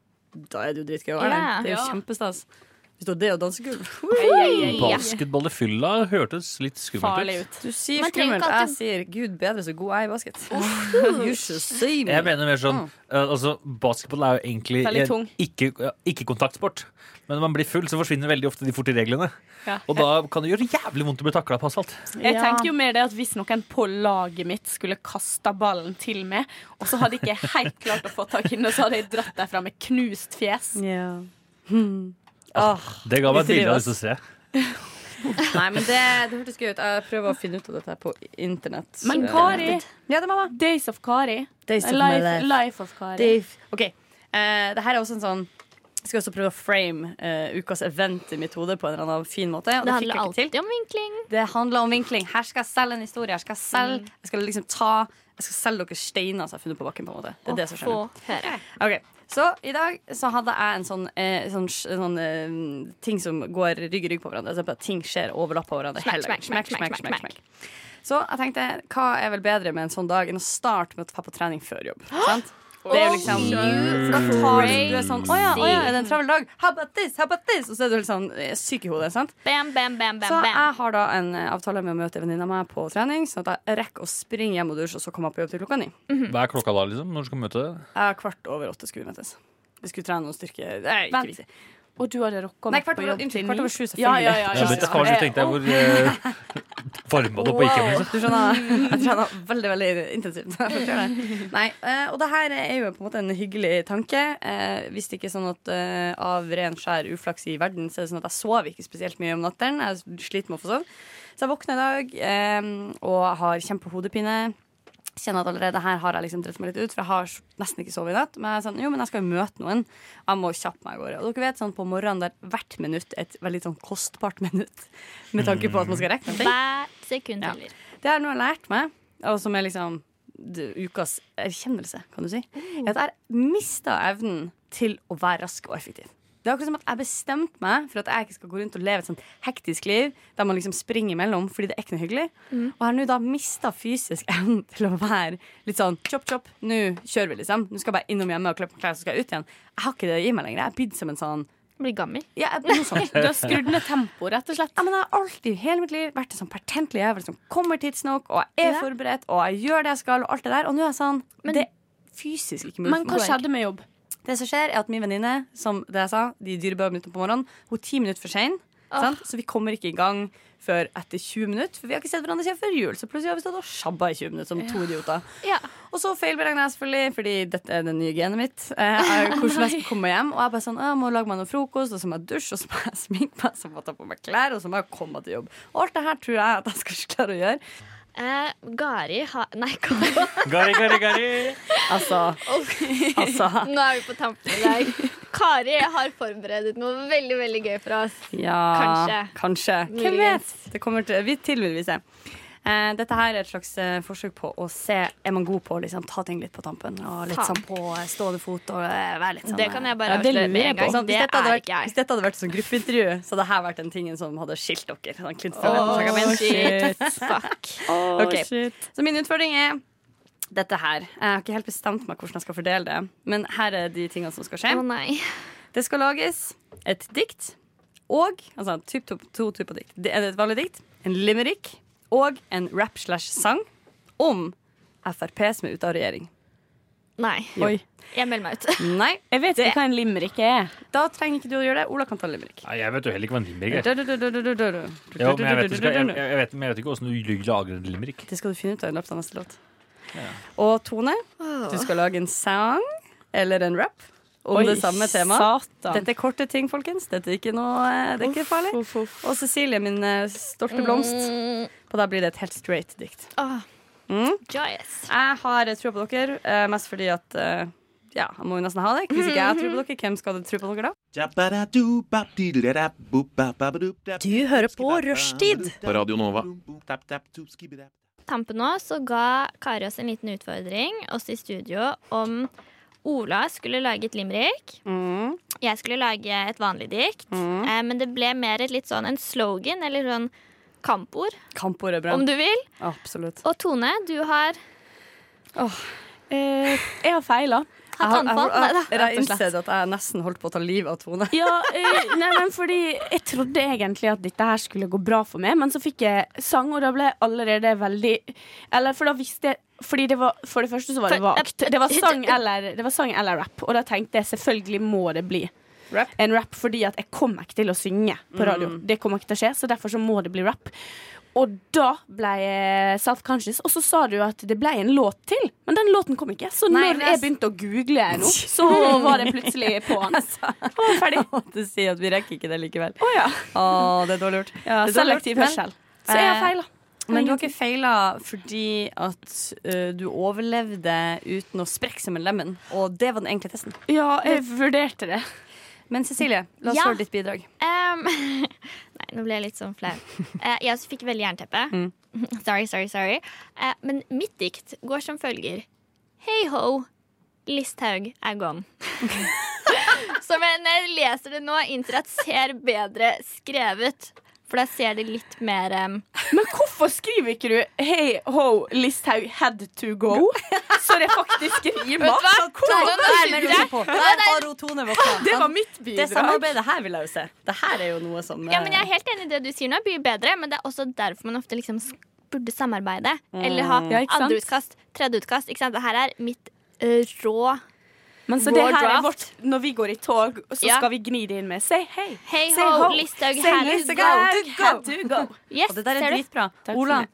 D: Da er det jo dritgøy å være
C: Ja.
D: der. Det er jo kjempestas. Hvis du har det og dansegulv
G: Basketball i fylla hørtes litt skummelt
F: Farlig
G: ut.
F: ut.
D: Du sier
C: Man trenger
D: skummelt,
C: ikke
D: jeg
C: alltid-
D: sier gud bedre så god jeg er i basket. You should see me.
G: Jeg mener mer sånn eh, altså, Basketball er jo egentlig
F: Veldig tung.
G: en ikke, ja, ikke kontaktsport. Men når man blir full, så forsvinner veldig ofte de fort i reglene.
F: Ja.
G: Og da kan det gjøre jævlig vondt å bli takla på asfalt.
F: Jeg
D: Ja.
F: tenker jo mer det at hvis noen på laget mitt skulle kasta ballen til meg, og så hadde ikke jeg helt klart å få tak i den, og så hadde jeg dratt derfra med knust fjes.
D: Ja. Hmm. Åh.
G: Det ga meg et
D: Vi
G: bilde
D: trives.
G: av det å se.
D: Nei, men det, det hørtes gøy ut. Jeg prøver å finne ut av dette her på internett.
F: Men
D: Eh,
F: Kari
D: Ja, det er mamma.
F: Days of Kari.
D: Days of my
F: life,
D: life.
F: life of Kari.
D: Dave. OK. eh, det her er også en sånn Jeg skal også prøve å frame eh, ukas event i mitt hode på en eller annen fin måte.
C: Det
D: Og det, fikk
C: handler
D: jeg ikke til.
C: alltid om vinkling.
D: det handler om vinkling. Her skal jeg selge en historie. Her skal jeg selge
C: Mm.
D: Jeg skal liksom ta Jeg skal selge dere steiner som jeg har funnet på bakken. på en måte Det er det som skjer. nå.
C: Få høre.
D: Ok, Så i dag så hadde jeg en sånn, eh, sånn, sj- sånn eh, ting som går rygg i rygg på hverandre. Altså at ting skjer overlapp på hverandre.
C: Smack,
D: hele dagen.
C: smack, smack, smack, smack,
D: smack. Så jeg tenkte, hva er vel bedre med en sånn dag enn å starte med å ta på trening før jobb? Sant? Det er liksom Da
C: Mm.
D: tar du, du er sånn Å ja, å ja, er det en travel dag? How about this? How about this? Og så er du helt sånn eh, syk i hodet. sant?
C: Bam, bam, bam, bam,
D: Så
C: bam.
D: jeg har da en eh, avtale med å møte en venninne av meg på trening, sånn at jeg rekker å springe hjem og dusje, og så komme jeg på jobb til klokka ni.
G: Hva er klokka da, liksom? Når du skal møte det?
D: Jeg er kvart over åtte skulle vi møtes. Vi skulle trene noen styrke... Nei, ikke
F: Vent.
D: vi.
F: Og du hadde rocka
D: Nei, kvart over- unnskyld, kvart over sju, selvfølgelig.
F: Ja, ja, ja,
G: Ja, vet du faen, så tenkte jeg hvor eh, varma det på ikke liksom.
D: Du skjønner, jeg trener veldig veldig intensivt. Jeg skjønner. Nei, eh, og det her er jo på en måte en hyggelig tanke. Eh, Hvis det ikke er sånn at eh, av ren skjær uflaks i verden, så er det sånn at jeg sover ikke spesielt mye om natten. Jeg sliter med å få sove. Så jeg våkner i dag eh, og har kjempehodepine. Kjenner at allerede her har jeg liksom dritt meg litt ut, for jeg har nesten ikke sovet i natt. Men jeg er sånn, jo, men jeg skal jo møte noen. Jeg må kjappe meg av gårde. Og dere vet sånn på morgenen der hvert minutt er et veldig sånn kostbart minutt. Med tanke på at man skal rekke noe.
C: Hvert sekund
D: Ja.
C: teller.
D: Det er noe jeg har lært meg, og som er liksom d- ukas erkjennelse, kan du si. Er at jeg mista evnen til å være rask og effektiv. Det er akkurat som at jeg bestemte meg for at jeg ikke skal gå rundt og leve et sånt hektisk liv der man liksom springer imellom fordi det er ikke noe hyggelig. Og jeg har nå da mista fysisk evnen til å være litt sånn chop, chop, nå kjører vi, liksom. Nå skal jeg bare innom hjemme og klippe meg klær, så skal jeg ut igjen. Jeg har ikke det i meg lenger. Jeg er blitt som en sånn
C: Blir gammel.
D: ja, jeg- noe sånn sånt.
F: Du har skrudd ned tempoet, rett og slett.
D: Ja, men jeg har alltid hele mitt liv vært en sånn pertentlig jævel som kommer tidsnok, og jeg er
C: Ja.
D: forberedt, og jeg gjør det jeg skal, og alt det der. Og nå er jeg sånn
C: Men-
D: Det er fysisk ikke mulig.
F: Men
D: for
F: hva
D: meg.
F: skjedde med jobb?
D: Det som skjer, er at min venninne, som det jeg sa, de dyrebare minuttene på morgenen, hun er ti minutter for sein. Sant? Så vi kommer ikke i gang før etter 20 minutter, for vi har ikke sett hverandre siden før jul. Så plutselig har vi stått og sjabba i 20 minutter som to idioter.
C: Ja.
D: Og så feilberegna jeg selvfølgelig, fordi dette er det nye genet mitt. Eh, jeg- hvordan jeg skal komme meg hjem. Og jeg bare sånn, «Å, jeg må lage meg noe frokost, og så må jeg dusje, og så må jeg sminke meg, så må jeg ta på meg klær, og så må jeg komme meg til jobb. Og alt det her tror jeg at jeg skal klare å gjøre.
C: Eh, Gari har Nei, Gari.
G: Gari, gari, gari.
D: Altså, altså
C: Nå er vi på tampen i dag. Kari har forberedt noe veldig veldig gøy for oss.
D: Ja, kanskje. Hvem vet?
C: Muligens.
D: Det kommer til, vi til vil vi se. Eh, dette her er et slags eh, forsøk på å se er man god på å liksom, ta ting litt på tampen. Og litt
C: Faen.
D: sånn på eh, stående fot. Og eh, være litt sånn
C: Det
D: eh,
C: kan jeg bare
F: Ja, det
C: avsløre med
F: lurer jeg
C: en gang.
F: på.
D: sånn, hvis,
C: Det
D: dette hadde
C: er
D: vært,
C: ikke jeg.
D: hvis dette hadde vært sånn gruppeintervju, så hadde her vært den tingen som hadde skilt dere. Sånn
C: Åh,
D: klinsfrem, sånn,
C: shit. Fuck.
D: Ok. Så min utfordring er dette her. Jeg har ikke helt bestemt meg hvordan jeg skal fordele det. Men her er de tingene som skal skje.
C: Å nei.
D: Det skal lages et dikt og altså, typ, to, to typer dikt. Det er et vanlig dikt, en limerick og en rap-slash-sang om Frp som er ute av regjering.
C: Nei.
D: Oi.
C: Jeg melder meg ut.
D: Nei,
F: Jeg vet ikke hva en limerick er.
D: da trenger ikke du å gjøre det. Ola kan ta limerick.
G: Nei, jeg vet jo heller ikke hva en limerick er. Jo, men jeg vet, du skal, jeg,
D: Det
G: jeg, vet, men jeg vet ikke hvordan du lager en limerick.
D: skal du finne ut av i løpet av neste låt. Og Tone,
C: Ah.
D: du skal lage en sang eller en rap om
F: Oi,
D: det samme temaet.
F: Satan.
D: Dette er korte ting, folkens. Dette er ikke noe eh, Det er ikke farlig.
F: Uff, uff.
D: Og Cecilie, min eh, stolte blomst.
C: Mm,
D: Og da blir det et helt straight dikt.
C: åh,
D: Mm.
C: joyous.
D: Jeg har tro på dere, eh, mest fordi at eh, Ja, jeg må jo nesten ha det. Hvis ikke jeg har tro på dere, hvem skal tro på dere da?
H: Du hører på Rushtid på Radio Nova.
C: Tampen nå så ga Kari oss en liten utfordring, oss i studio, om Ola skulle lage et limerick.
D: Mm.
C: Jeg skulle lage et vanlig dikt. Eh, men det ble mer et litt sånn en slogan, eller sånn kampord,
D: Kampord er bra.
C: om du vil.
D: Absolutt.
C: Og Tone, du har
F: Eh, jeg har feila.
C: hatt anfall. Nei da.
D: jeg har innsett at jeg nesten holdt på å ta livet av Tone.
F: Ja, eh, nei, men fordi jeg trodde egentlig at dette her skulle gå bra for meg, men så fikk jeg sang, og da ble jeg allerede veldig Eller for da visste jeg fordi det var, For det første så var det
C: For-
F: vagt. Det var sang eller, det var sang eller rap, og da tenkte jeg selvfølgelig må det bli
D: Rap. Mm.
F: en rap, fordi at jeg kommer ikke til å synge på radio. Det kommer ikke til å skje, så derfor så må det bli rap. Og da ble jeg self-conscious, og så sa du at det ble en låt til, men den låten kom ikke. Så
D: Nei,
F: når
D: men jeg-
F: jeg begynte å google nå, så var det plutselig på'n. Og ferdig.
D: Jeg måtte si at vi rekker ikke det likevel.
F: Å ja.
D: Å, det er dårlig gjort.
F: Ja,
D: Det er dårlig
F: selektiv
D: gjort, men-
F: hørsel. Så jeg har
D: Eh,
F: feila.
D: Men du har ikke feila fordi at ø, du overlevde uten å sprekke som en lemen. Og det var den enkle testen.
F: Ja, jeg vurderte det.
D: Men Cecilie, la oss
C: Ja.
D: høre ditt bidrag.
C: Em, nei, nå ble jeg litt sånn flau. Eh, jeg også fikk veldig jernteppe.
F: Mm.
C: sorry, sorry, sorry. Eh, men mitt dikt går som følger. Hei ho, Listhaug er gone. eh, Så men jeg leser det nå, innser at ser bedre skrevet. For da ser det litt mer em,
F: Men hvorfor skriver ikke du 'Hey ho, Listhaug had to go'? Så det faktisk rimer.
D: Tone,
C: nærmer dere.
D: Der har hun Tone våkna.
F: Det var mitt
D: Det
F: bidrag.
D: samarbeidet her vil jeg jo se. Det her er jo noe som
C: Ja, men Jeg er helt enig i det du sier nå. Blir bedre, men det er også derfor man ofte liksom s- burde samarbeide. Eller ha
F: Mm. Ja, ikke sant?
C: andre utkast, tredje utkast. Ikke sant? Det her er mitt eh, rå
F: Men så
C: Raw
F: det her er
C: draft.
F: vårt Når vi går i tog, så
C: Ja.
F: skal vi gni det inn med 'say hey'.
C: Hei
F: Say
C: ho,
F: ho,
C: Listhaug
F: say
C: her.
F: Listhaug.
D: Had to go.
C: Yes,
D: Og det der
C: ser
D: er
C: du?
D: dritbra.
F: for
D: Ola,
F: meg.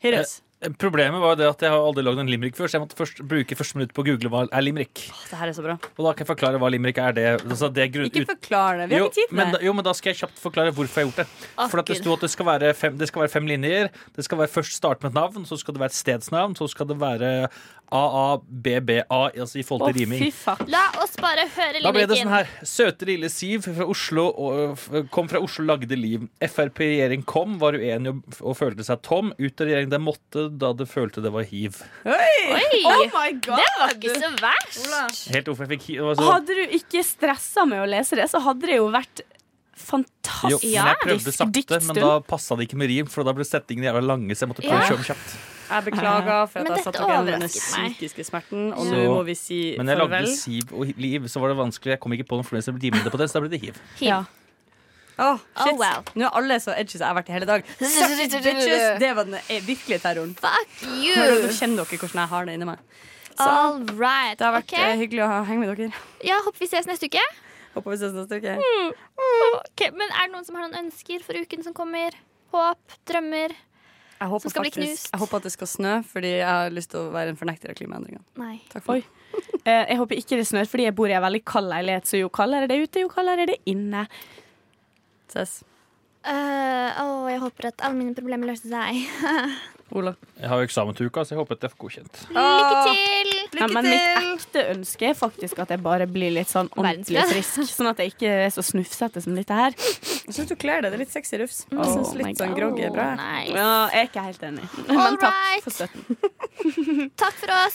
D: Hyrus.
G: Eh, Problemet var jo det at jeg har aldri lagd en limerick før, så jeg måtte først bruke første minutt på å google hva er limerick.
D: Det her er så bra.
G: Og da kan jeg forklare hva limerick er. det, altså det er grunn,
D: Ikke
G: ut-
D: forklar det. Vi har
G: jo,
D: ikke tid
G: men,
D: til
G: da,
D: det.
G: jo, men da skal jeg kjapt forklare hvorfor jeg har gjort det.
C: Å,
G: For at Det
C: Gud.
G: sto at det skal være fem, det skal være fem linjer. Det skal være først starte med et navn, så skal det være et stedsnavn, så skal det være AABBA altså i forhold
F: Å,
G: til riming.
F: fy faen.
C: La oss bare høre
G: Da ble det
C: lyrikken.
G: sånn her. Søte lille Siv fra Oslo og, f- kom fra Oslo, lagde liv. Frp-regjering kom, var uenig og, og følte seg tom. Ut av regjering det måtte, da det følte det var hiv.
C: Oi,
F: Oh my
C: det
F: god.
C: var ikke så verst.
G: Helt hvorfor jeg fikk altså, hiv. det var så-
F: Hadde du ikke stressa med å lese det, så hadde det jo vært
G: Jo,
F: fantastisk
G: men jeg prøvde sakte, men da
F: diktstund.
G: passa det ikke med rim, for da ble setningene jævla lange. Så jeg måtte prøve
C: Ja.
G: å kjøre dem kjapt.
D: Jeg beklager for
C: Men
D: at jeg
C: dette
D: satte opp igjen denne
C: overrasket meg.
D: psykiske smerten, og
G: Så-
D: nå må vi si
G: Men jeg lagde
D: farvel.
G: Siv og Liv, så var det vanskelig. Jeg kom ikke på noen flere som rimte på det, så da ble det hiv.
C: Ja.
D: Åh, shit.
C: Oh, wow.
D: Nå er alle så edgy som jeg har vært i hele dag. Suck it, bitches! Det var den eh, virkelige terroren.
C: Fuck
D: Nå
C: you.
D: kjenner dere hvordan jeg har det inni meg.
C: All right.
D: sånn? Det har vært
C: Ok.
D: eh, hyggelig å ha- henge med dere.
C: Ja, Håper vi ses neste uke.
D: Håper vi ses neste uke.
C: Hmm, Ok, Men er det noen som har noen ønsker for uken som kommer? Håp? Drømmer?
D: Jeg håper,
C: Som skal bli
D: faktisk,
C: knust.
D: jeg håper at det skal snø, fordi jeg har lyst til å være en fornekter av klimaendringene.
C: Nei.
D: Takk for
F: Oi. Eh, Jeg håper ikke det snør, fordi jeg bor i en veldig kald leilighet, så jo kaldere det er ute, jo kaldere er det inne.
D: meg. Ses.
C: Eh, Å, jeg håper at alle mine problemer løste seg.
D: Ola.
G: Jeg har jo eksamen til uka, så jeg håper at jeg får godkjent.
C: Lykke til!
F: Ja, men mitt ekte ønske er faktisk at jeg bare blir litt sånn ordentlig
C: Verdensfred.
F: frisk, sånn at jeg ikke er så snufsete som dette her.
D: Jeg syns du kler det. Det er litt sexy rufs.
F: Oh
C: Mm.
D: Jeg syns
F: my
D: litt sånn
F: God.
D: groggy er bra.
C: Å, Oh, nice.
F: Ja, jeg er ikke helt enig,
C: All
F: men takk
C: right.
F: for støtten.
C: Takk for oss.